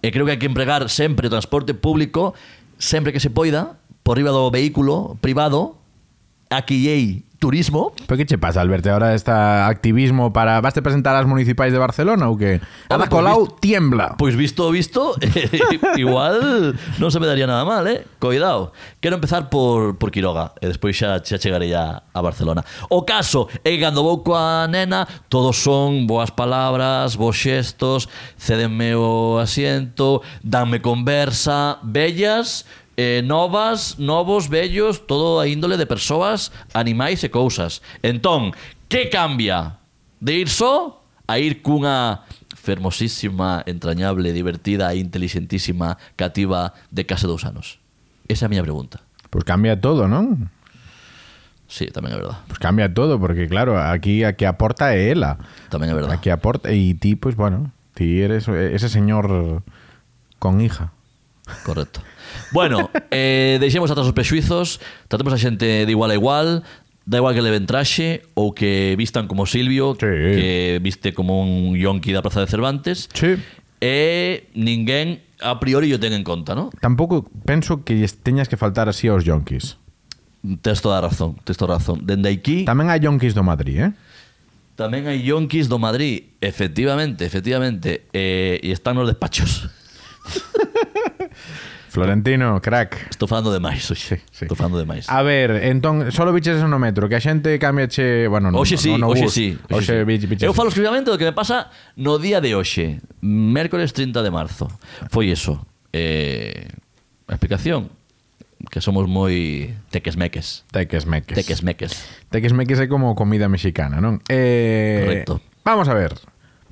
B: e creo que hai que empregar sempre o transporte público sempre que se poida por riba do vehículo privado a que llei turismo.
A: Pero que che pasa, Alberto? Ahora está este activismo para... Vas te presentar ás municipais de Barcelona ou que? Ada
B: Home, pois
A: Colau
B: visto-
A: tiembla.
B: Pois visto o visto, igual non se me daría nada mal, eh? Coidado. Quero empezar por, por Quiroga eh, e despois xa, xa chegarei a, a Barcelona. O caso é que cando vou coa nena, todos son boas palabras, bons xestos, cedenme o asiento, danme conversa, bellas, eh, novas, novos, bellos, todo a índole de persoas, animais e cousas. Entón, que cambia de ir só a ir cunha fermosísima, entrañable, divertida e inteligentísima cativa de case dous anos? Esa é a miña pregunta.
A: Pois Pues cambia todo, non?
B: Sí, tamén é verdad.
A: Pois cambia todo, porque claro, aquí a que aporta é ela.
B: Tamén é verdad.
A: A que aporta... E ti, pois, bueno, ti eres ese señor con hija.
B: Correcto. Bueno, eh, deixemos atrás os prexuizos, tratemos a xente de igual a igual, da igual que leven traxe ou que vistan como Silvio,
A: Sí.
B: que viste como un yonki da Praza de Cervantes.
A: Sí.
B: E ninguén a priori o ten en conta, ¿no?
A: Tampouco penso que lles teñas que faltar así aos yonkis.
B: Tes toda a razón, tes toda a razón. Dende aquí...
A: Tamén hai yonkis do Madrid, eh?
B: Tamén hai yonkis do Madrid, efectivamente, efectivamente, eh, e están nos despachos.
A: Florentino, crack.
B: Estou falando demais, oxe.
A: sí.
B: Estou falando demais.
A: A ver, entón, solo biches eso no metro, que a xente cambia che... Bueno, no,
B: Oxe
A: no,
B: sí,
A: no, no
B: oxe
A: bus.
B: sí,
A: Oxe, biche, biche,
B: Eu falo exclusivamente do que me pasa no día de hoxe, mércores 30 de marzo. Foi eso. Eh, a explicación que somos moi tequesmeques.
A: Teques meques.
B: Tequesmeques.
A: Teques meques é como comida mexicana, non? Eh,
B: Correcto.
A: Vamos a ver.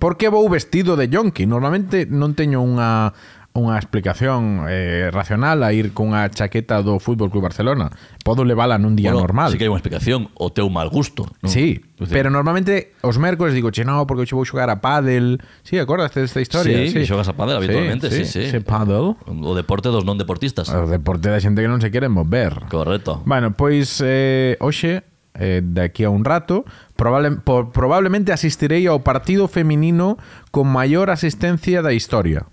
A: Por que vou vestido de yonki? Normalmente non teño unha unha explicación eh, racional a ir cunha chaqueta do Fútbol Club Barcelona. Podo levala nun día
B: Bueno,
A: normal.
B: Sí que hai unha explicación, o teu mal gusto. non?
A: Sí,
B: O sea,
A: pero normalmente os mércores digo, che, no, porque hoxe vou xogar a pádel. Sí, acordaste desta historia?
B: Sí, que xogas a pádel habitualmente, sí, sí.
A: sí. pádel.
B: O deporte dos non deportistas.
A: O deporte da xente que non se quere mover.
B: Correcto.
A: Bueno, pois eh, hoxe, eh, daqui a un rato, probable, po, probablemente asistirei ao partido feminino con maior asistencia da historia.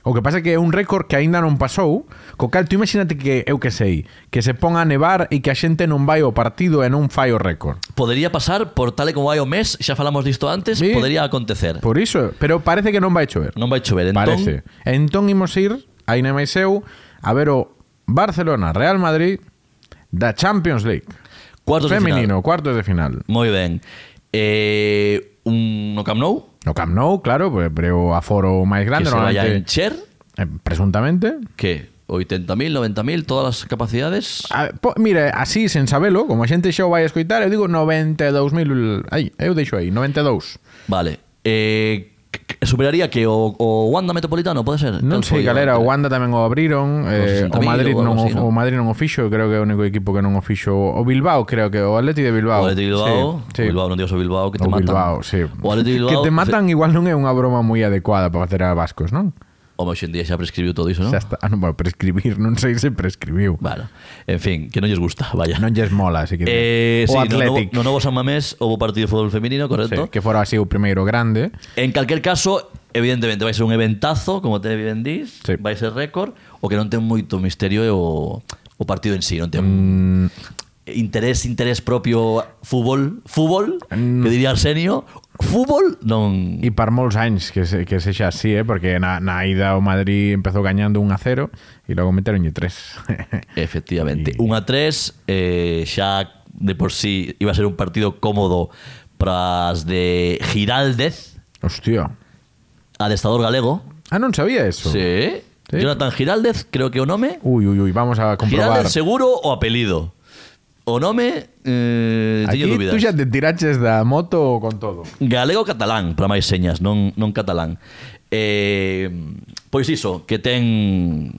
A: O que pasa é que é un récord que aínda non pasou, co cal tú imagínate que, eu que sei, que se pon a nevar e que a xente non vai ao partido e non fai o récord.
B: Podería pasar por tal e como hai o mes, xa falamos disto antes,
A: Sí.
B: podería acontecer.
A: Por iso, pero parece que non vai chover.
B: Non vai chover, entón,
A: Parece. Entón imos ir, aí na máis eu, a ver o Barcelona Real Madrid da Champions League.
B: cuartos
A: Femenino,
B: de
A: cuartos de final.
B: final. Moi ben. Eh, un no Camp Nou,
A: No Camp Nou, claro, pois, pero é o aforo máis
B: que
A: grande,
B: se vaya a
A: normalmente,
B: encher,
A: eh, presuntamente.
B: que 80.000, 90.000, todas as capacidades.
A: A, po, mire, así, sen sabelo, como a xente xa o vai a escoitar, eu digo 92.000... Ai, eu deixo aí, 92.
B: Vale. Eh, c- c- superaría que o, o Wanda Metropolitano, pode ser?
A: Non sei, galera, o Wanda tamén o abriron, eh, o
B: 60.000
A: Madrid
B: ou algo
A: non o,
B: así, non?
A: o Madrid non o fixo, creo que é o único equipo que non o fixo, o Bilbao, creo que o Atleti de Bilbao.
B: O Atleti Bilbao,
A: sí, sí.
B: o Bilbao, non digas o Bilbao, que
A: O
B: te matan.
A: Bilbao, sí.
B: O Atleti
A: que
B: Bilbao,
A: te matan igual non é unha broma moi adecuada para facer a vascos, non?
B: Home, hoxe en día xa prescribiu todo iso, non?
A: Xa está, ah, non, bueno, prescribir, non sei se prescribiu.
B: Vale. En fin, que non lles gusta, vaya.
A: Non lles mola, así que... o
B: Eh, sí,
A: Athletic,
B: No, novo- no novo San Mamés houve partido de fútbol femenino,
A: sí,
B: correcto?
A: que fora así o primeiro grande.
B: En calquer caso, evidentemente vai ser un eventazo, como te vendís,
A: Sí.
B: sí. vai ser récord, o que non ten moito misterio é o, o partido en sí, non ten
A: Mm.
B: interés, interés propio fútbol, fútbol,
A: Mm.
B: que diría Arsenio, fútbol non
A: E para molts anys que, se, que sexa así, eh? porque na, na ida o Madrid empezou gañando 1 a 0 e logo meteronlle 3. Y-
B: Efectivamente. Un a 3 eh, xa de por sí iba a ser un partido cómodo para as de Giraldez,
A: Hostia.
B: adestador galego.
A: Ah, non sabía eso.
B: Sí.
A: Sí.
B: Jonathan Giraldez, creo que o nome.
A: Ui, ui, ui, vamos a comprobar.
B: Giraldez seguro o apelido. O nome, eh,
A: Aquí
B: teño dúbidas.
A: tú xa te tiraches da moto con todo.
B: Galego catalán, para máis señas, non, non catalán. Eh, pois iso, que ten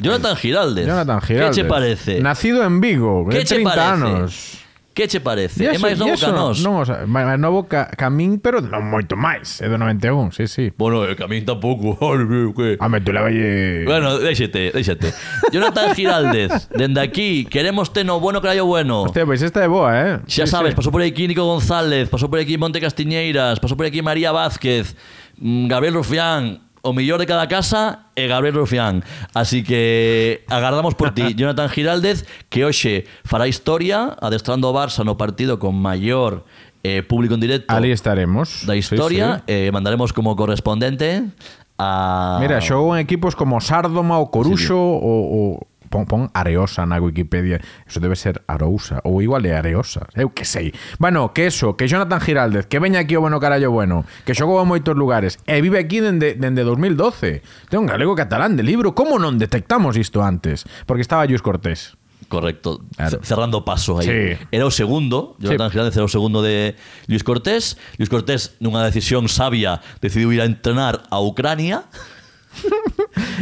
B: Jonathan Giraldez.
A: Jonathan Giraldes.
B: Que che parece?
A: Nacido en Vigo,
B: que
A: de 30 anos.
B: Que che parece?
A: E
B: É
A: eso-
B: máis
A: e
B: novo
A: eso
B: que a nós.
A: Non, o sea, máis novo ca, Camín, pero non moito máis. É do 91, sí, sí.
B: Bueno, eh, que a min tampouco. Ai, que...
A: Home, tú la velle...
B: Bueno, déxete, déxete. Jonathan Giraldez, dende aquí, queremos teno bueno, crayo bueno.
A: Hostia, pois esta é boa, eh? Sí,
B: Xa sabes, pues,
A: sí.
B: pasou por aquí Nico González, pasou por aquí Monte Castiñeiras, pasou por aquí María Vázquez, mm, Gabriel Rufián. o mellor de cada casa e Gabriel Rufián. Así que agardamos por ti, Jonathan Giraldez, que hoxe fará historia adestrando o Barça no partido con maior eh, público en directo
A: Ali estaremos.
B: da historia.
A: Sí, sí.
B: Eh, mandaremos como correspondente a...
A: Mira, show en equipos como Sárdoma o Coruxo o, o pon, pon Areosa na Wikipedia. Eso debe ser Arousa ou igual é Areosa. Eu que sei. Bueno, que eso, que Jonathan Giraldez, que veña aquí o bueno carallo bueno, que xogou a moitos lugares e vive aquí dende, dende 2012. Ten un galego catalán de libro. Como non detectamos isto antes? Porque estaba Lluís Cortés.
B: Correcto.
A: Claro.
B: C- Cerrando paso aí.
A: Sí.
B: Era o segundo, Jonathan
A: Sí.
B: Giraldez era o segundo de Luis Cortés. Luis Cortés, nunha decisión sabia, decidiu ir a entrenar a Ucrania.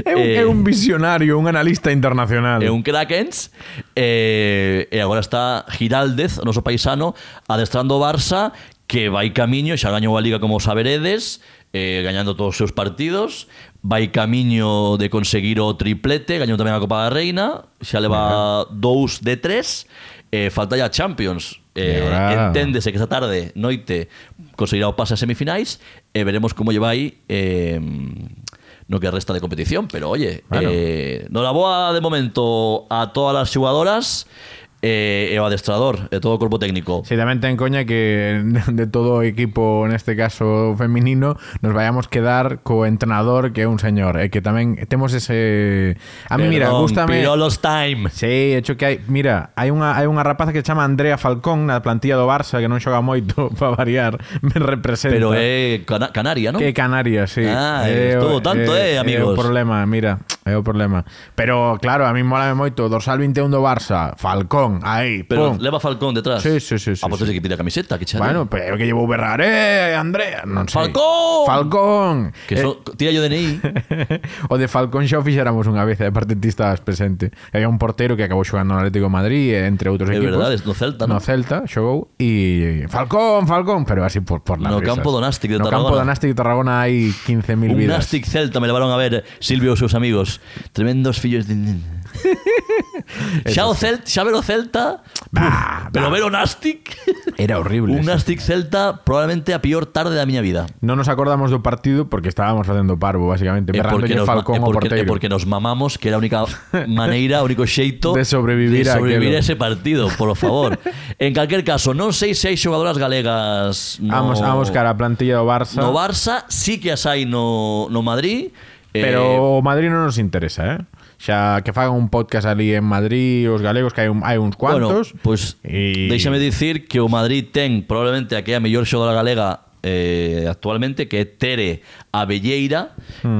A: É un,
B: Eh,
A: eh, é un visionario, un analista internacional.
B: É un crackens eh, e agora está Giraldez, o noso paisano, adestrando o Barça que vai camiño, xa gañou a Liga como saberedes, eh, gañando todos os seus partidos, vai camiño de conseguir o triplete, gañou tamén a Copa da Reina, xa leva dous de tres, eh, falta ya Champions.
A: E
B: Eh,
A: agora-
B: enténdese que esta tarde, noite, conseguirá o pase a semifinais e veremos como lle vai eh, no que resta de competición, pero oye,
A: Bueno.
B: Eh, no la boa de momento a todas as xogadoras eh, e ao adestrador e todo o corpo técnico.
A: Sí, tamén ten coña que de todo o equipo, neste caso feminino, nos vayamos quedar co entrenador que é un señor, e que tamén temos ese A mí mira,
B: Perdón,
A: gustame
B: Pirolos time.
A: Sí, hecho que hai, mira, hai unha hai unha rapaza que se chama Andrea Falcón na plantilla do Barça que non xoga moito para variar, me representa.
B: Pero é cana canaria, non?
A: Que Canarias, sí.
B: Ah,
A: É o-
B: estuvo tanto,
A: É o
B: eh, amigos.
A: problema, mira, é o problema. Pero claro, a mí mola moito dorsal 21 do Barça, Falcón, aí,
B: Pero
A: pum.
B: leva Falcón detrás.
A: Sí, sí, sí, sí,
B: Ah, pues
A: sí.
B: que pide a camiseta, que chale.
A: Bueno, pero que llevo Berraré, Andrea, non sei.
B: Falcón!
A: Falcón!
B: que so, tira yo DNI.
A: Eh, o de Falcón xa o fixéramos unha vez, eh, aparte ti estabas presente. Había un portero que acabou xogando no Atlético de Madrid, eh, entre outros
B: É
A: equipos.
B: verdade, no Celta,
A: No
B: ¿no?
A: Celta, xogou, e Falcón, Falcón, pero así por, por la
B: No campo do Nástic de
A: no
B: Tarragona.
A: campo do Nástic de Tarragona hai 15.000
B: Un
A: vidas.
B: Nastic Celta me levaron a ver Silvio e os seus amigos. Tremendos fillos de... xa, o Celta, xa ver o Celta,
A: Bah,
B: pero
A: bah,
B: ver o Nastic...
A: Era horrible.
B: Un
A: eso.
B: Nastic Celta probablemente a peor tarde da miña vida.
A: Non nos acordamos do partido porque estábamos facendo parvo, basicamente.
B: E porque,
A: Berrándolle
B: nos,
A: Falcón
B: e
A: ao
B: porque, e
A: porteiro.
B: porque nos mamamos que era a única maneira, o único xeito
A: De sobrevivir
B: de
A: a
B: sobrevivir a
A: aquelo.
B: ese partido, por favor. en calquer caso, non sei se hai xogadoras galegas no,
A: Vamos, a buscar a plantilla do Barça.
B: no Barça, sí que as hai no, no Madrid. eh,
A: Pero o Madrid non nos interesa, eh? Xa que fagan un podcast ali en Madrid os galegos que hai, un, hai uns cuantos.
B: Bueno, pues
A: e-
B: déixame dicir que o Madrid ten probablemente a que é a mellor xogadora galega eh, actualmente, que é Tere Abelleira,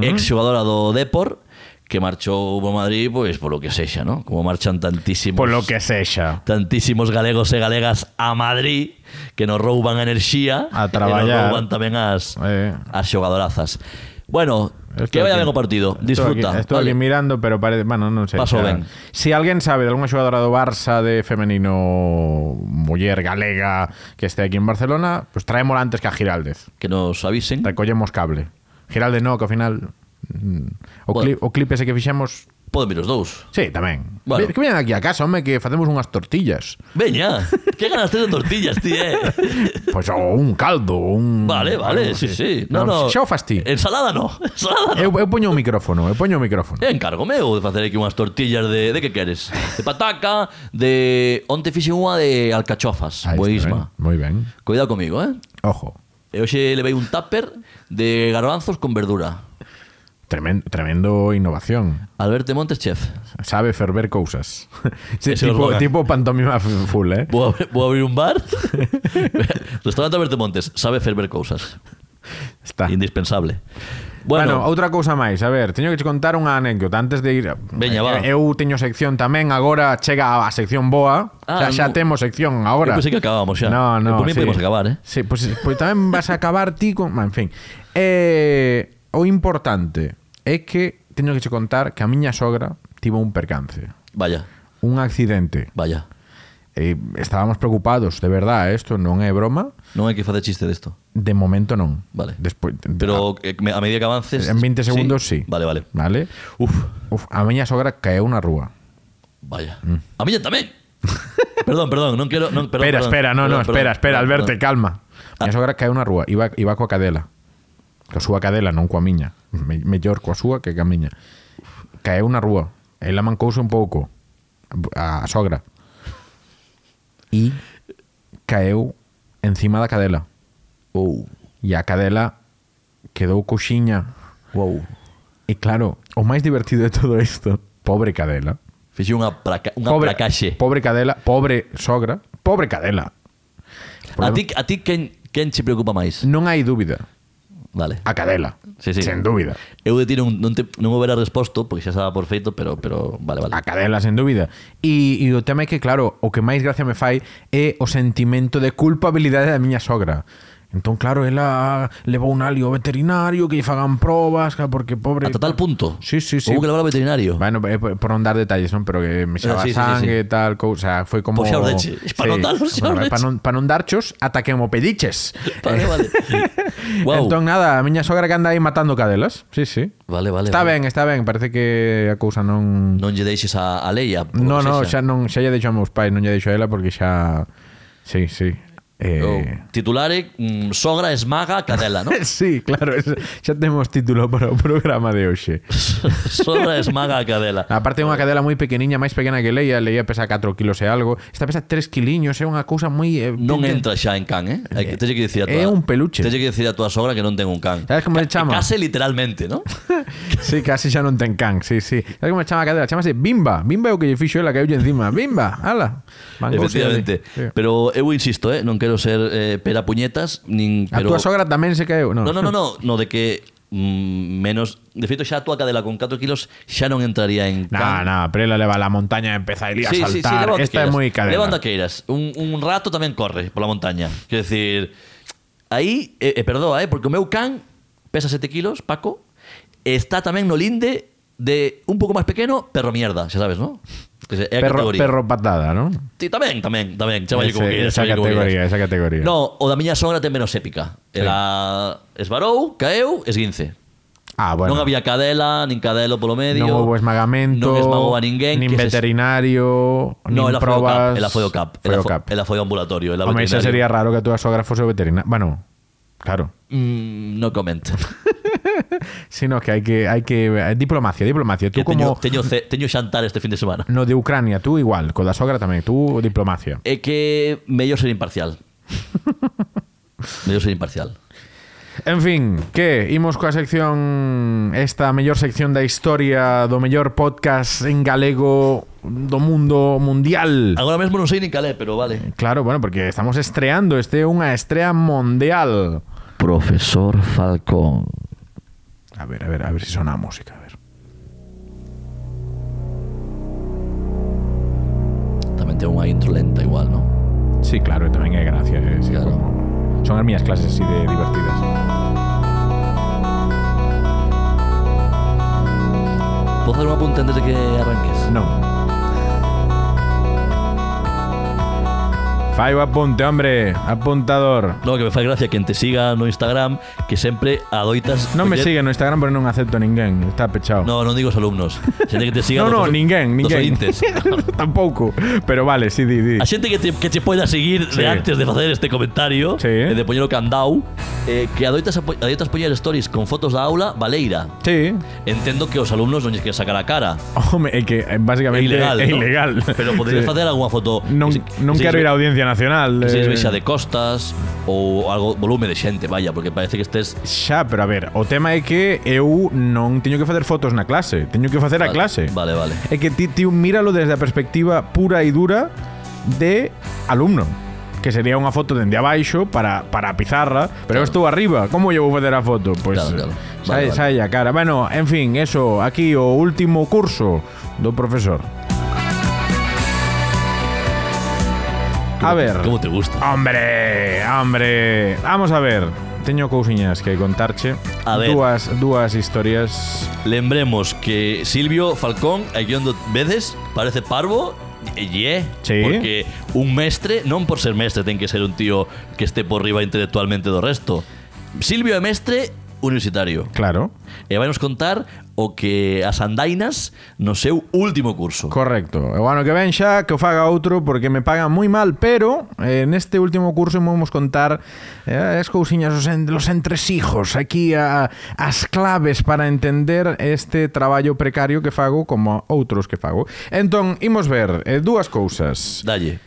B: ex xogadora do Depor, que marchou ao Madrid, pois, polo que sexa, ¿no? Como marchan tantísimos...
A: Por pues lo que sexa.
B: tantísimos galegos e galegas a Madrid que nos rouban a enerxía
A: A
B: e nos
A: traballar.
B: rouban tamén as,
A: Eh.
B: as xogadorazas. Bueno,
A: Estou
B: que vaya
A: aquí-
B: ben o partido.
A: estou
B: Disfruta.
A: Aquí, estou
B: vale.
A: aquí mirando, pero parece... Bueno, non sei.
B: Paso
A: xa.
B: ben.
A: Si alguén sabe de algunha xogadora do Barça de femenino muller galega que este aquí en Barcelona, pues traémola antes que a Giraldez.
B: Que nos avisen.
A: Recollemos cable. Giraldez no, que ao final... mm, O, cli,
B: Bueno.
A: o clip ese que fixemos...
B: Poden vir os dous.
A: Sí, tamén.
B: Bueno.
A: Que veñan aquí a casa, home, que facemos unhas tortillas.
B: Veña, que ganas tres de tortillas, ti, eh?
A: Pois ou Pues un caldo, un...
B: Vale, vale,
A: algo
B: sí,
A: así.
B: sí. No, no. Eh,
A: Xa o fas ti.
B: Ensalada no, ensalada no.
A: Eu, eu poño o eh, micrófono, eu poño o micrófono.
B: Eh, encárgome eu de facer aquí unhas tortillas de, de que queres? De pataca, de... Onte fixen unha de alcachofas,
A: Ahí está, eh.
B: boísma.
A: ben, Moi ben.
B: Cuidado comigo, eh?
A: Ojo.
B: E hoxe levei un tupper de garbanzos con verdura.
A: Tremendo, tremendo innovación.
B: Alberto Montes, chef.
A: Sabe ferver cousas. Sí,
B: Ese
A: tipo,
B: eslogan.
A: tipo pantomima f- full, eh?
B: Vou, ab- vou abrir un bar. Restaurante Alberto Montes, sabe ferver cousas.
A: Está.
B: Indispensable.
A: Ah. Bueno,
B: Bueno,
A: outra cousa máis, a ver, teño que che contar unha anécdota antes de ir. Eh,
B: Veña, va.
A: Eu teño sección tamén, agora chega a sección boa. Ah,
B: Ah,
A: xa, xa
B: no.
A: temos sección agora.
B: Eu pensei que acabábamos xa.
A: No,
B: Eu
A: no,
B: por mí podemos acabar, eh.
A: Sí, pois pues, pues tamén vas a acabar ti con, en fin. Eh, o importante é que teño que che contar que a miña sogra tivo un percance,
B: vaya,
A: un accidente.
B: vaya.
A: Eh, estábamos preocupados, de ¿eh? verdade, isto non é broma.
B: Non hai que facer chiste desto.
A: De momento non.
B: Vale.
A: Despois,
B: Pero eh, me- a medida que avances...
A: Ah. En 20 segundos, sí.
B: Vale, vale.
A: Vale?
B: Uf,
A: Uf, a miña sogra caeu na rúa.
B: vaya.
A: Mm.
B: A miña tamén. perdón, perdón, non quero... Non, perdón,
A: espera,
B: perdón,
A: espera, no,
B: perdón,
A: no,
B: perdón,
A: espera, espera,
B: perdón, Ah.
A: Alberto,
B: perdón.
A: calma. A miña sogra caeu na rúa, iba, iba coa cadela. Coa súa cadela, non coa miña. me- mellor coa súa que ca miña. Caeu na rúa. Ela mancouse un pouco a, a sogra. E caeu encima da cadela.
B: Ou.
A: E a cadela quedou coxiña.
B: Wow.
A: E claro, o máis divertido de todo isto, pobre cadela.
B: Fixe unha, placa, unha
A: Pobre,
B: placaxe.
A: pobre cadela, pobre sogra, pobre cadela.
B: a ti, a ti quen, quen che preocupa máis?
A: Non hai dúbida.
B: Vale.
A: A cadela.
B: Sí, sí.
A: Sen dúbida.
B: Eu de ti non, non, te, non houbera resposto, porque xa estaba por feito, pero, pero vale, vale.
A: A cadela, sen dúbida. E, e o tema é que, claro, o que máis gracia me fai é o sentimento de culpabilidade da miña sogra. Entón, claro, ela levou un alio ao veterinario que lle fagan probas, ca, porque pobre...
B: Ata tal punto.
A: Sí, sí, sí.
B: Houve que levar ao veterinario.
A: Bueno, eh, por por non dar detalles, non? Pero que me xaba
B: Ah,
A: sí,
B: Sí, sí, sí,
A: sangue, sí, sí. tal, cousa, foi como...
B: Pois xa os deches. Pa non dar- xa os
A: Bueno, pa
B: deches.
A: non, pa non darchos ata que mo pediches.
B: Vale, vale. Guau.
A: Entón, nada, a miña sogra que anda aí matando cadelas. Sí, sí.
B: Vale, vale.
A: está ben,
B: vale.
A: está ben, parece que a cousa non...
B: Non lle deixes a, a Leia. por
A: No, no,
B: lo que
A: xa
B: sexa.
A: non xa lle deixo a meus pais, non lle deixo a ela porque xa Sí, sí. Eh,
B: Ou, Titulare, mm, sogra esmaga a cadela, non?
A: Sí, claro, es- xa temos título para o programa de hoxe.
B: sogra esmaga a cadela.
A: Aparte é unha cadela moi pequeniña, máis pequena que Leia, Leia pesa 4 kilos e algo. Esta pesa 3 kiliños, é unha cousa moi eh,
B: Non
A: ten-
B: entra xa en can, eh? Hai que- Tens que dicir a tua,
A: É un peluche.
B: Tens que dicir a tua sogra que non ten un can.
A: Sabes como le chama?
B: Case literalmente, non?
A: Sí, casi xa non ten can, sí, sí. Sabes como se chama a cadela? Chamase Bimba. Bimba é o que lle fixo ela que encima. Bimba, ala. Mangouse ali.
B: Efectivamente.
A: Sí.
B: Pero eu insisto, eh? non quero ser eh, pera puñetas, nin,
A: A
B: pero...
A: túa sogra tamén se caeu, non?
B: No, no, no, no, no de que mm, menos... De feito, xa a tua cadela con 4 kilos xa non entraría en
A: Nah,
B: can.
A: nah, pero ela leva a la montaña e empeza ali a
B: Sí, sí, sí,
A: saltar.
B: leva onde
A: Esta é
B: queiras.
A: moi cadela.
B: Leva onde queiras. Un, un rato tamén corre pola montaña. Quer decir, aí, e, e perdoa, eh, porque o meu can pesa 7 kilos, Paco, e está tamén no linde de un pouco máis pequeno, perro mierda, xa sabes, non? Que se- É a
A: perro,
B: categoría.
A: perro patada, ¿no?
B: Ti tamén, tamén, tamén, chamalle
A: Ese-
B: como queiras.
A: esa
B: chamalle como
A: categoría,
B: queiras.
A: esa categoría.
B: No, o da miña sogra ten menos épica. Ela esvarou, caeu, esguince.
A: Ah, bueno.
B: Non había cadela, nin cadelo polo medio.
A: Non houbo esmagamento,
B: Non esmagou a ninguén.
A: nin
B: que se-
A: veterinario,
B: No,
A: nin
B: ela foi,
A: probas.
B: ela foi o CAP.
A: Foi o
B: Ela foi,
A: cap.
B: ela foi ao ambulatorio. Ela
A: Home, xa
B: veterinario.
A: sería raro que a túa sogra fose o veterinario. Bueno, claro.
B: Mm, no comento.
A: Sino que hai que hai que eh, diplomacia, diplomacia. Tú
B: Que
A: como
B: teño, teño, ce- teño xantar este fin de semana.
A: no de Ucrania, tú igual, co da sogra tamén, tú diplomacia.
B: É que mellor ser imparcial. mellor ser imparcial.
A: En fin, que imos coa sección esta mellor sección da historia do mellor podcast en galego do mundo mundial.
B: Agora mesmo non sei nin calé, pero vale.
A: Claro, bueno, porque estamos estreando, este é unha estrea mundial.
B: Profesor Falcón.
A: A ver, a ver, a ver si sona a música, a ver.
B: Tamén ten unha intro lenta igual, non?
A: Sí, claro, e tamén é gracia, eh, sí,
B: Claro.
A: como- Son as miñas clases así de divertidas.
B: Podo facer un apunte antes de que arranques?
A: Non. Fai o apunte, hombre, apuntador.
B: No, que me fai gracia que te siga no Instagram, que sempre adoitas...
A: Non me
B: coller-
A: sigue no Instagram, pero non acepto ninguén, está pechado.
B: No, non digo os alumnos. Xente que te siga
A: no,
B: dos-
A: no, ninguén,
B: dos
A: ninguén.
B: ointes.
A: Tampouco, pero vale, sí, di, di.
B: A xente que te, que te poida seguir
A: Sí.
B: de antes de facer este comentario,
A: Sí.
B: e de poñer o candau, eh, que adoitas, apo- adoitas poñer stories con fotos da aula, valeira.
A: Sí.
B: Entendo que os alumnos non lles que sacar a cara.
A: Home, é que eh,
B: É
A: basicamente
B: ilegal,
A: é
B: ¿no?
A: ilegal.
B: Pero poderías
A: Sí.
B: facer algunha foto...
A: Non,
B: que se-
A: non
B: que se
A: quero ir
B: lles
A: á
B: ve-
A: Audiencia Nacional.
B: Que se lles
A: eh.
B: vexa de costas ou algo volume de xente, vaya, porque parece que estés...
A: Xa, pero a ver, o tema é que eu non teño que facer fotos na clase, teño que facer a
B: Vale,
A: clase.
B: Vale, vale.
A: É que ti, ti míralo desde a perspectiva pura e dura de alumno, que sería unha foto dende abaixo para, para a pizarra, pero eu
B: Claro.
A: estou arriba, como eu vou facer a foto? Pues, eh, Pois
B: Claro, claro. Vale,
A: Sai,
B: vale.
A: sai a cara. Bueno, en fin, eso, aquí o último curso do profesor. A ver.
B: Como te gusta.
A: Hombre, hombre. Vamos a ver. Teño cousiñas que contarche.
B: A ver.
A: Dúas, dúas historias.
B: Lembremos que Silvio Falcón, a guión do veces, parece parvo, e lle,
A: Sí.
B: porque un mestre, non por ser mestre, ten que ser un tío que este por riba intelectualmente do resto. Silvio é mestre universitario.
A: Claro.
B: E vai nos contar o que as andainas no seu último curso.
A: Correcto. E o ano que ven xa que o faga outro porque me pagan moi mal, pero eh, neste último curso vamos contar eh, as cousiñas os, en, los entresijos, aquí a, as claves para entender este traballo precario que fago como outros que fago. Entón, imos ver eh, dúas cousas.
B: Dalle.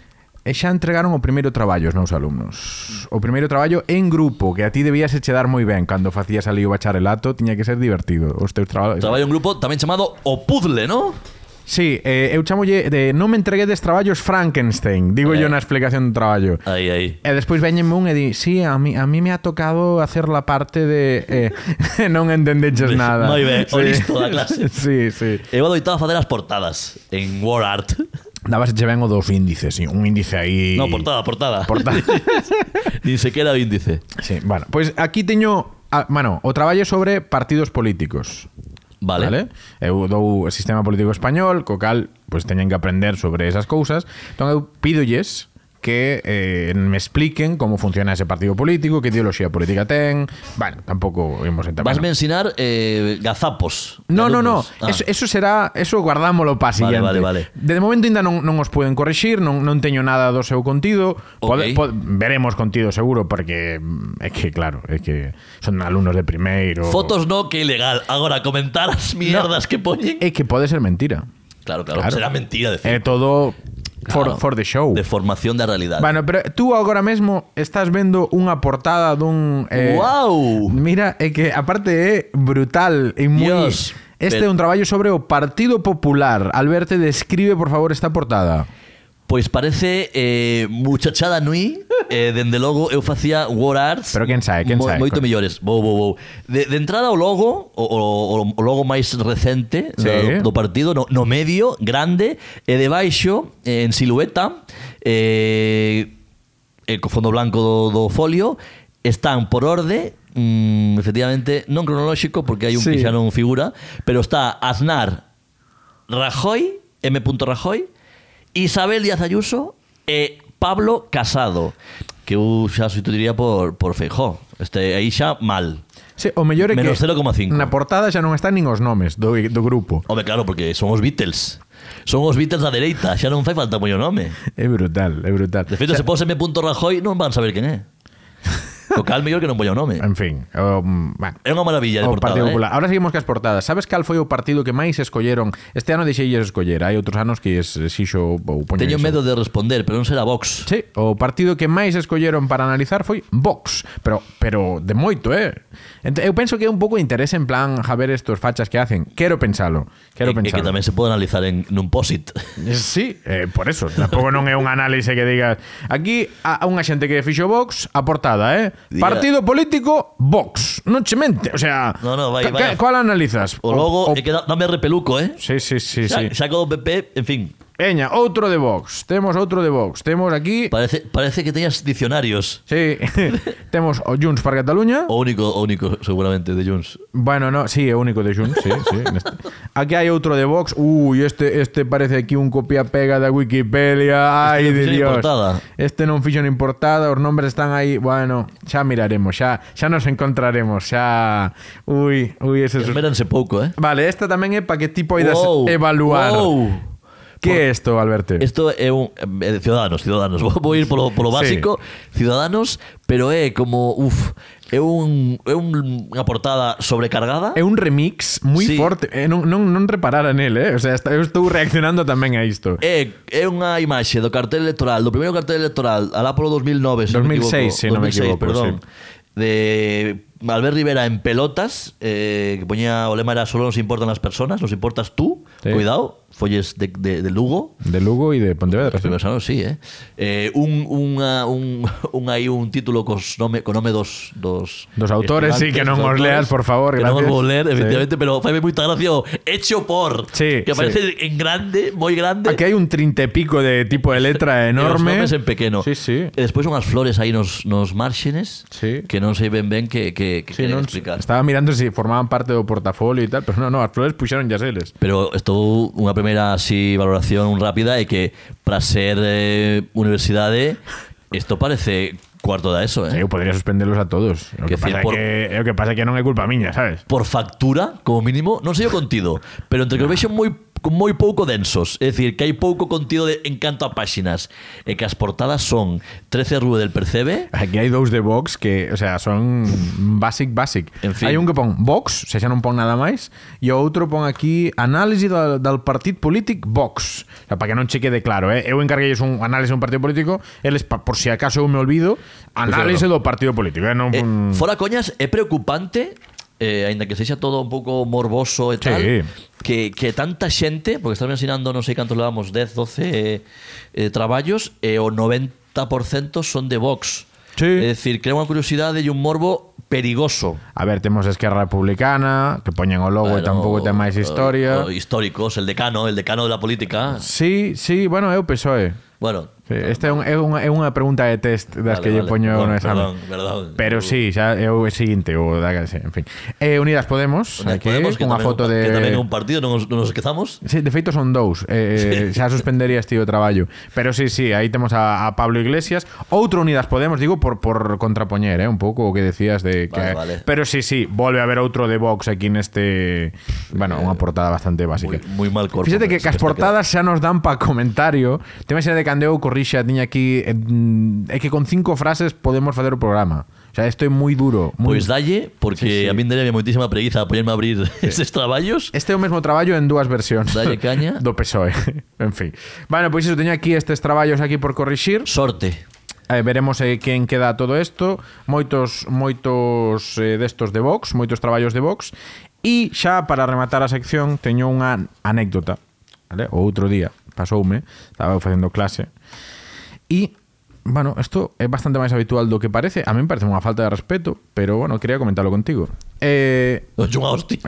A: E xa entregaron o primeiro traballo os meus alumnos. O primeiro traballo en grupo, que a ti debías eche dar moi ben cando facías ali o bacharelato, tiña que ser divertido. Os teus traballos.
B: Traballo en grupo tamén chamado O Puzzle, non?
A: Sí, eh, eu chamolle de non me entreguedes traballos Frankenstein, digo
B: Eh.
A: yo na explicación do traballo.
B: Aí, aí.
A: E despois veñenme un e di, sí, a mí, a mí me ha tocado hacer la parte de... Eh, non entendeches nada.
B: Moi ben, o listo da clase.
A: sí, sí.
B: Eu adoitaba facer as portadas en Word Art.
A: Dabas eche ben o dos índices, sí, un índice aí...
B: No, portada, portada.
A: Portada.
B: Ni sequera o índice.
A: sí, bueno, pois pues aquí teño... A, bueno, o traballo sobre partidos políticos.
B: Vale.
A: vale? Eu dou o sistema político español, co cal pois teñen que aprender sobre esas cousas. Entón eu pídolles que eh, me expliquen como funciona ese partido político, que ideoloxía política ten. Bueno, tampouco imos entrar.
B: Vasme
A: bueno.
B: ensinar eh, gazapos.
A: No, no, no.
B: alumnos. Ah.
A: Eso, eso será, eso guardámolo para
B: Vale,
A: siguiente.
B: vale, vale.
A: De momento ainda non, non os poden corrixir, non, non teño nada do seu contido.
B: Ok.
A: veremos contido seguro porque mm, é que claro, é que son alumnos de primeiro.
B: Fotos no, que ilegal. Agora, comentar as mierdas que poñen.
A: É que pode ser mentira.
B: Claro,
A: Eh,
B: claro,
A: Claro. Eh,
B: será mentira decir.
A: É todo for,
B: Claro.
A: for the show.
B: De formación da realidade.
A: Bueno, pero tú agora mesmo estás vendo unha portada dun... Eh,
B: Guau!
A: Mira, é que aparte é brutal e moi...
B: Dios,
A: Este é
B: pero-
A: un traballo sobre o Partido Popular. Alberto, describe, por favor, esta portada.
B: Pois Pues parece eh, muchachada nui, eh, dende logo eu facía War Arts.
A: Pero quen sabe, quen
B: mo-
A: sabe?
B: Moito millores. Vou, vou, vou. De, de entrada o logo, o, o, o logo máis recente
A: Sí.
B: do, do partido, no, no medio, grande, e debaixo, eh, en silueta, eh, e co fondo blanco do, do folio, están por orde, mm, efectivamente, non cronolóxico, porque hai un
A: Sí.
B: que xa non figura, pero está Aznar, Rajoy, M. Rajoy, Isabel Díaz Ayuso e Pablo Casado, que eu xa sustituiría por, por Feijó. Este, aí xa mal.
A: Sí, o mellor é que...
B: Menos 0,5.
A: Na portada xa non están nin os nomes do, do grupo.
B: Home, claro, porque son os Beatles. Son os Beatles da dereita, xa non fai falta moi o nome.
A: É brutal, é brutal.
B: De feito, se pose M. Rajoy non van saber quen é. O cal mellor que non poña o nome.
A: En fin, um, bueno.
B: É unha maravilla de
A: O
B: portada,
A: Partido
B: eh?
A: Popular. Ahora seguimos cas portadas. Sabes cal foi o partido que máis escolleron? Este ano deixeilles escoller. Hai outros anos que es, xixo ou poño
B: Teño medo de responder, pero non será Vox.
A: Sí, o partido que máis escolleron para analizar foi Vox, pero pero de moito, eh. Ent- Eu penso que é un pouco de interese en plan a ver estos fachas que hacen. Quero pensalo, quero
B: E- e
A: pensalo.
B: que tamén se pode analizar en nun posit.
A: Sí, eh, por eso. Tampouco non é un análise que digas Aquí a, a unha xente que fixo Vox A portada, eh
B: Diga-
A: Partido político, Vox Non che mente, o sea
B: No, no, vai,
A: ca-
B: vai.
A: Cual analizas?
B: O logo
A: O- o-
B: é que dá- dame repeluco, eh?
A: Sí, sí, sí, sí.
B: Xa, saco do PP, en fin.
A: Peña, outro de Vox. Temos outro de Vox. Temos aquí...
B: Parece, parece que teñas diccionarios.
A: Sí, temos o Junts para Cataluña.
B: O único, o único seguramente, de Junts.
A: Bueno, no, sí, é o único de Junts, sí, sí. neste. Aquí hai outro de Vox. Uy, este este parece aquí un copia-pega da Wikipedia. Ai, de
B: non fixo nin
A: Dios.
B: portada.
A: Este non fixo nin portada, os nombres están aí. Bueno, xa miraremos, xa xa nos encontraremos, xa. Ui, ui, ese es...
B: Esméranse pouco, eh?
A: Vale, esta tamén é para que ti poidas
B: Wow,
A: evaluar.
B: wow.
A: Que é isto, Alberto?
B: Isto é un eh, Ciudadanos, Ciudadanos. Vou vou ir polo, polo
A: Sí.
B: básico, Ciudadanos, pero é como, uf, é un é un, unha portada sobrecargada.
A: É un remix moi sí.
B: Sí.
A: forte. Eh, non, non, non reparara nel, eh? O sea, está, eu estou reaccionando tamén a isto.
B: É, é unha imaxe do cartel electoral, do primeiro cartel electoral, alá polo 2009, se non
A: 2006,
B: me equivoco.
A: se non me equivoco,
B: perdón.
A: sí.
B: De Albert Rivera en pelotas, eh, que poñía o lema era solo nos importan las personas, nos importas tú,
A: Sí.
B: cuidado, folles de, de, de Lugo,
A: De Lugo e de Pontevedra.
B: Os primeiros anos, sí, eh? eh un, unha, un, un, hai un título cos nome, co nome dos... Dos,
A: Dos autores, sí,
B: estudantes,
A: que non
B: dos
A: os
B: autores,
A: leas, por favor,
B: Que non os
A: gracias.
B: vou ler,
A: Sí.
B: efectivamente, pero faime moita gracia o Hecho por,
A: Sí,
B: que aparece en grande, moi grande.
A: Aquí hai un trinta e pico de tipo de letra
B: E os
A: enorme.
B: nomes en pequeno.
A: Sí, sí.
B: E despois unhas flores aí nos, nos márxenes
A: Sí.
B: que non se ven ben que, que, que
A: Sí, non,
B: queren explicar.
A: estaba mirando se formaban parte do portafolio e tal, pero non, non, as flores puxeron ya seles.
B: Pero estou unha primeira así valoración rápida é que para ser eh, universidade isto parece Cuarto da eso, eh?
A: Eu podría suspenderlos a todos. O que,
B: Que
A: pasa
B: cien por-
A: é que, é o que pasa é que non é culpa miña, sabes?
B: Por factura, como mínimo, non sei o contido, pero entre que o vexen moi con moi pouco densos, é dicir, que hai pouco contido de, en canto a páxinas, e que as portadas son 13 rúe del Percebe,
A: Aquí hai dous de Vox que, o sea, son basic, basic.
B: En
A: Hai
B: fin.
A: un que pon Vox, se xa non pon nada máis, e o outro pon aquí análise do, del partit polític Vox. O sea, para que non che quede claro, eh? Eu encargueis un análise dun partido político, eles, pa, por si acaso eu me olvido, análise do partido político. Eh? Non,
B: Pues Eh,
A: pon-
B: fora coñas, é preocupante eh, aínda que sexa todo un pouco morboso
A: Sí.
B: e tal, que, que tanta xente, porque estás ensinando non sei cantos levamos, 10, 12 eh, eh, traballos, e o 90% son de Vox.
A: Sí.
B: É dicir, crea unha curiosidade e un morbo perigoso.
A: A ver, temos a Esquerra Republicana, que poñen o logo e
B: Bueno,
A: tampouco ten máis historia.
B: o- o históricos, el decano, el decano de la política.
A: Sí, sí, bueno, é o PSOE.
B: Bueno,
A: Sí, Esta é, un, é, unha, é unha pregunta de test das
B: Vale,
A: que lle
B: vale.
A: poño
B: Perdón,
A: no exame.
B: perdón, perdón.
A: Pero sí, xa é o seguinte, o da que sí, en fin. Eh, Unidas Podemos,
B: Unidas
A: aquí,
B: Podemos, que
A: unha
B: tamén
A: foto
B: un, que tamén
A: de
B: é un partido, non nos, non nos esquezamos.
A: Sí, de feito son dous eh, eh, Xa suspenderías tío o traballo Pero sí, sí, aí temos a, a Pablo Iglesias Outro Unidas Podemos, digo, por, por contrapoñer eh, Un pouco o que decías de que,
B: Vale, vale.
A: Pero sí, sí, volve a haber outro de Vox Aquí neste, bueno, unha portada bastante básica
B: Moi, moi mal corpo.
A: Fíjate que,
B: se
A: que as
B: está
A: portadas xa nos dan pa comentario Te imaginas de cando eu corrixa Tiña aquí eh, mm, É que con cinco frases podemos facer o programa O sea, isto é moi duro moi...
B: Pois Pues dalle,
A: Sí, sí.
B: porque a min daría moitísima preguiza poñerme a abrir estes traballos.
A: Este é o mesmo traballo en dúas versións
B: Dalle caña.
A: Do PSOE E, En fin Bueno, pois iso teño aquí estes traballos aquí por corrixir
B: Sorte.
A: eh, Veremos eh, quen queda todo isto Moitos moitos eh, destos de Vox Moitos traballos de Vox E xa para rematar a sección Teño unha anécdota vale? O outro día pasoume Estaba eu facendo clase E, bueno, isto é bastante máis habitual do que parece A min parece unha falta de respeto Pero, bueno, quería comentarlo contigo Eh,
B: Non unha hostia.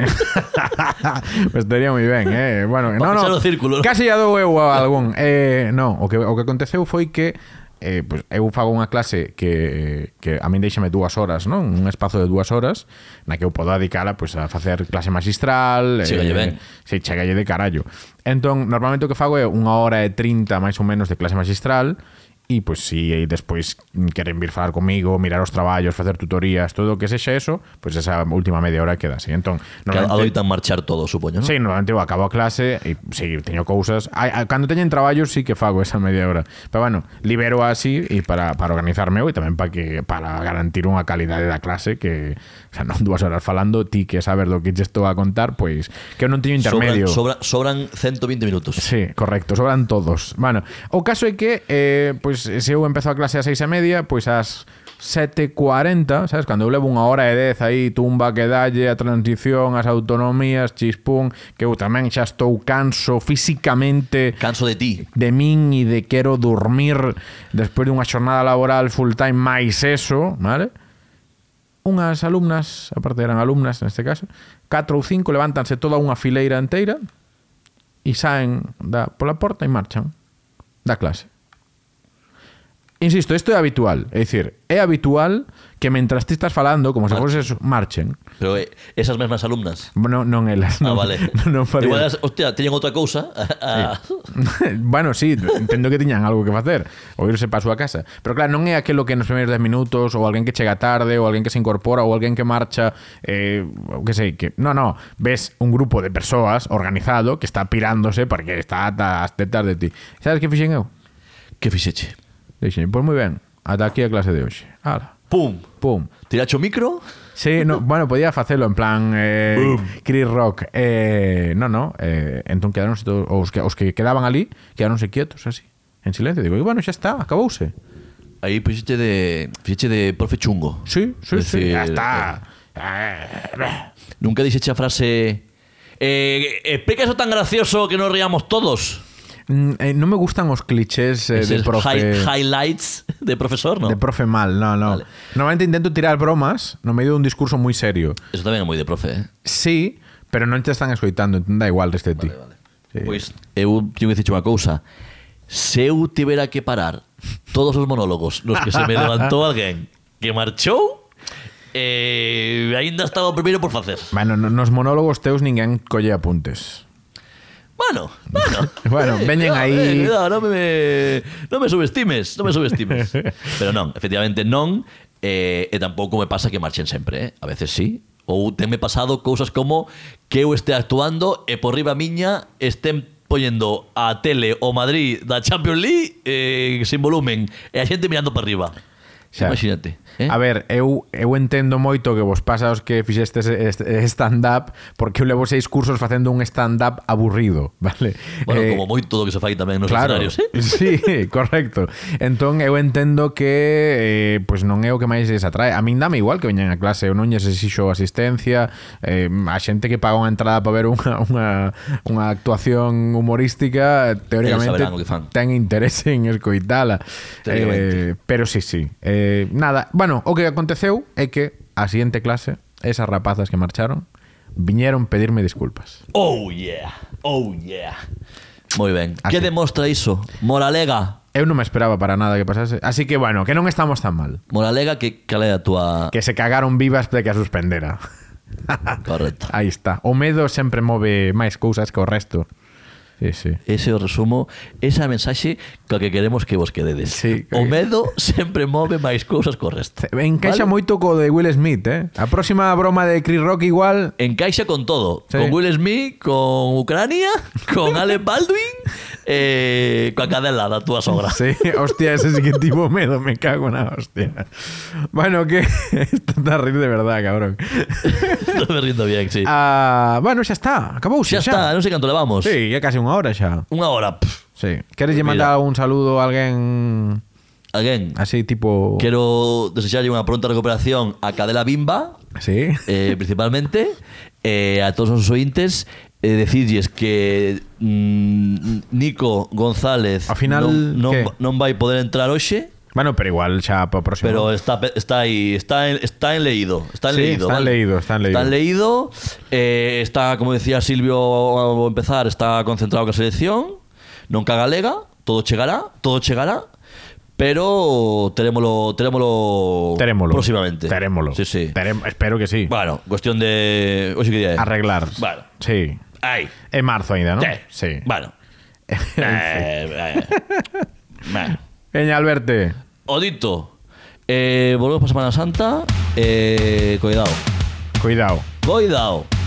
A: pues estaría moi ben, eh. Bueno,
B: Pa
A: no,
B: pechar
A: no.
B: o círculo, ¿no?
A: Casi ya dou eu a algún. Eh, no, o que o que aconteceu foi que eh, pues, eu fago unha clase que, que a min deixame dúas horas, non? Un espazo de dúas horas na que eu podo dedicala pues, a facer clase magistral. eh,
B: Chégalle ben.
A: Sí, chegalle de carallo. Entón, normalmente o que fago é unha hora e trinta máis ou menos de clase magistral e, pois, si aí despois queren vir falar comigo, mirar os traballos, facer tutorías, todo o que sexa eso, pois esa última media hora queda así. Entón,
B: Que
A: normalmente-
B: adoitan marchar todo, supoño, non?
A: Sí, normalmente eu acabo a clase e sí, teño cousas. Ai, a- Cando teñen traballos sí que fago esa media hora. Pero bueno, libero así e para, para organizarme eu e tamén para que para garantir unha calidade da clase que, o sea, non dúas horas falando, ti que sabes do que che estou a contar, pois que eu non teño intermedio.
B: Sobran, sobran, sobran 120 minutos.
A: Sí, correcto, sobran todos. Bueno, o caso é que eh, pois, se eu empezo a clase a seis e media, pois ás 7.40, sabes, cando eu levo unha hora e dez aí, tumba que dalle, a transición, as autonomías, chispún, que eu tamén xa estou canso físicamente
B: Canso de ti.
A: de min e de quero dormir despois dunha xornada laboral full time máis eso, vale? Unhas alumnas, aparte eran alumnas neste caso, catro ou cinco levántanse toda unha fileira enteira e saen da, pola porta e marchan da clase. Insisto, isto é habitual, é dicir, é habitual que mentras ti estás falando, como se
B: Marchen.
A: foses marchen.
B: Pero eh, esas mesmas alumnas.
A: Non, non elas,
B: Ah,
A: non,
B: vale.
A: non farían.
B: Igual, as- hostia, teñen outra cousa. a- a-
A: Eh, bueno, sí, entendo que tiñan algo que facer ou irse para a súa casa pero claro, non é aquilo que nos primeiros 10 minutos ou alguén que chega tarde, ou alguén que se incorpora ou alguén que marcha eh, o que sei, que no, no, ves un grupo de persoas organizado que está pirándose porque está ata as tetas de ti sabes que fixen eu?
B: Que fixeche?
A: Dixen, pois moi ben, ata aquí a clase de hoxe ala,
B: Pum.
A: pum
B: Tiracho micro.
A: Sí, no, bueno, podía facelo en plan eh, Chris Rock. Eh, no, no. Eh, entón quedaronse todos, os que, os que quedaban ali, quedaronse quietos así, en silencio. Digo, e bueno, xa está, acabouse.
B: Aí fixeche de fixeche de profe chungo.
A: Sí, sí, Pues
B: Es
A: sí,
B: decir,
A: ya está. Eh,
B: Nunca dixeche a frase eh, explica eso tan gracioso que nos riamos todos.
A: mm, eh, non me gustan os clichés eh, de
B: Eses
A: profe...
B: hi- highlights de profesor, non?
A: De profe mal, no, no.
B: Vale.
A: Normalmente intento tirar bromas no medio dun discurso moi serio.
B: Eso tamén é moi de profe, eh?
A: Sí, pero non te están escoitando, entón da igual deste ti. Sí.
B: Pois eu teño que dicir unha cousa. Se eu tivera que parar todos os monólogos nos que se me levantou alguén que marchou, eh, aínda estaba o primeiro por facer.
A: Bueno, no- nos monólogos teus ninguén colle apuntes.
B: Bueno, bueno.
A: Bueno,
B: Eh,
A: veñen
B: cuidado,
A: aí.
B: eh, cuidado, non me non me subestimes, non me subestimes. Pero non, efectivamente non eh, e tampouco me pasa que marchen sempre, eh? A veces sí, ou tenme pasado cousas como que eu este actuando e por riba miña estén poñendo a tele o Madrid da Champions League eh, sin volumen e a xente mirando para riba.
A: Xa.
B: Imagínate. Eh?
A: A ver, eu, eu entendo moito que vos pasa os que fixestes este stand-up porque eu levo seis cursos facendo un stand-up aburrido, vale?
B: Bueno,
A: Eh,
B: como moito do que se fai tamén nos
A: Claro,
B: escenarios, eh?
A: sí, correcto Entón eu entendo que eh, Pois non é o que máis les atrae A min dame igual que veñan a clase Eu non lles exixo asistencia eh, A xente que paga unha entrada para ver unha, unha, unha actuación humorística eh, Teóricamente
B: saberán o que fan.
A: ten interese en escoitala eh,
B: Teóricamente.
A: Pero sí, sí eh, Nada, bueno, o que aconteceu é que A seguinte clase Esas rapazas que marcharon Viñeron pedirme disculpas
B: Oh yeah, oh yeah. Moi ben.
A: Así.
B: Que demostra iso? Moralega.
A: Eu non me esperaba para nada que pasase Así que bueno, que non estamos tan mal
B: Moralega que cal é a túa
A: que se cagaron vivas de que a suspendera.
B: correcta.
A: Aí está. O medo sempre move máis cousas que o resto. Sí, sí.
B: Ese é o resumo, esa é a mensaxe coa que queremos que vos quededes.
A: Sí, que-
B: o medo sempre move máis cousas co resto.
A: Encaixa
B: Vale?
A: moito co de Will Smith, eh? A próxima broma de Chris Rock igual...
B: Encaixa con todo,
A: Sí.
B: con Will Smith, con Ucrania, con Alec Baldwin, eh, coa cadela da túa sogra.
A: Sí, hostia, ese sí que tivo medo, me cago na hostia. Bueno, que... Esto está a rir de verdad, cabrón.
B: Estou me rindo bien, sí.
A: Ah, bueno, xa está, acabou
B: xa
A: xa.
B: está, non sei canto levamos.
A: Sí, é casi unha hora xa.
B: Unha hora. Pff.
A: Sí. Queres lle
B: Mira.
A: mandar un saludo a alguén
B: Alguén,
A: así tipo...
B: quero desexarlle unha pronta recuperación a Cadela Bimba,
A: Sí.
B: eh, principalmente eh, a todos os ointes eh, decirlles que mm, Nico González
A: Ao final,
B: non, non,
A: que?
B: non vai poder entrar hoxe
A: Bueno, pero igual xa para o próximo.
B: pero está pe- está aí está en, está en leído está en
A: Sí, está
B: leído
A: en
B: vale.
A: leído, está en leído.
B: está leído, eh, está como decía Silvio ao empezar está concentrado ca selección non caga lega todo chegará todo chegará pero terémolo terémolo
A: Terémolo.
B: próximamente
A: Terémolo.
B: sí, sí.
A: Terem- espero que sí.
B: bueno cuestión de hoxe que día é
A: Arreglar.
B: Vale.
A: Sí.
B: Ai.
A: É marzo ainda, non?
B: Sí. Bueno. Eh, eh. Bueno.
A: Veña, Alberto.
B: Odito. Eh, volvemos para Semana Santa. Eh, cuidado.
A: Cuidado.
B: Cuidado.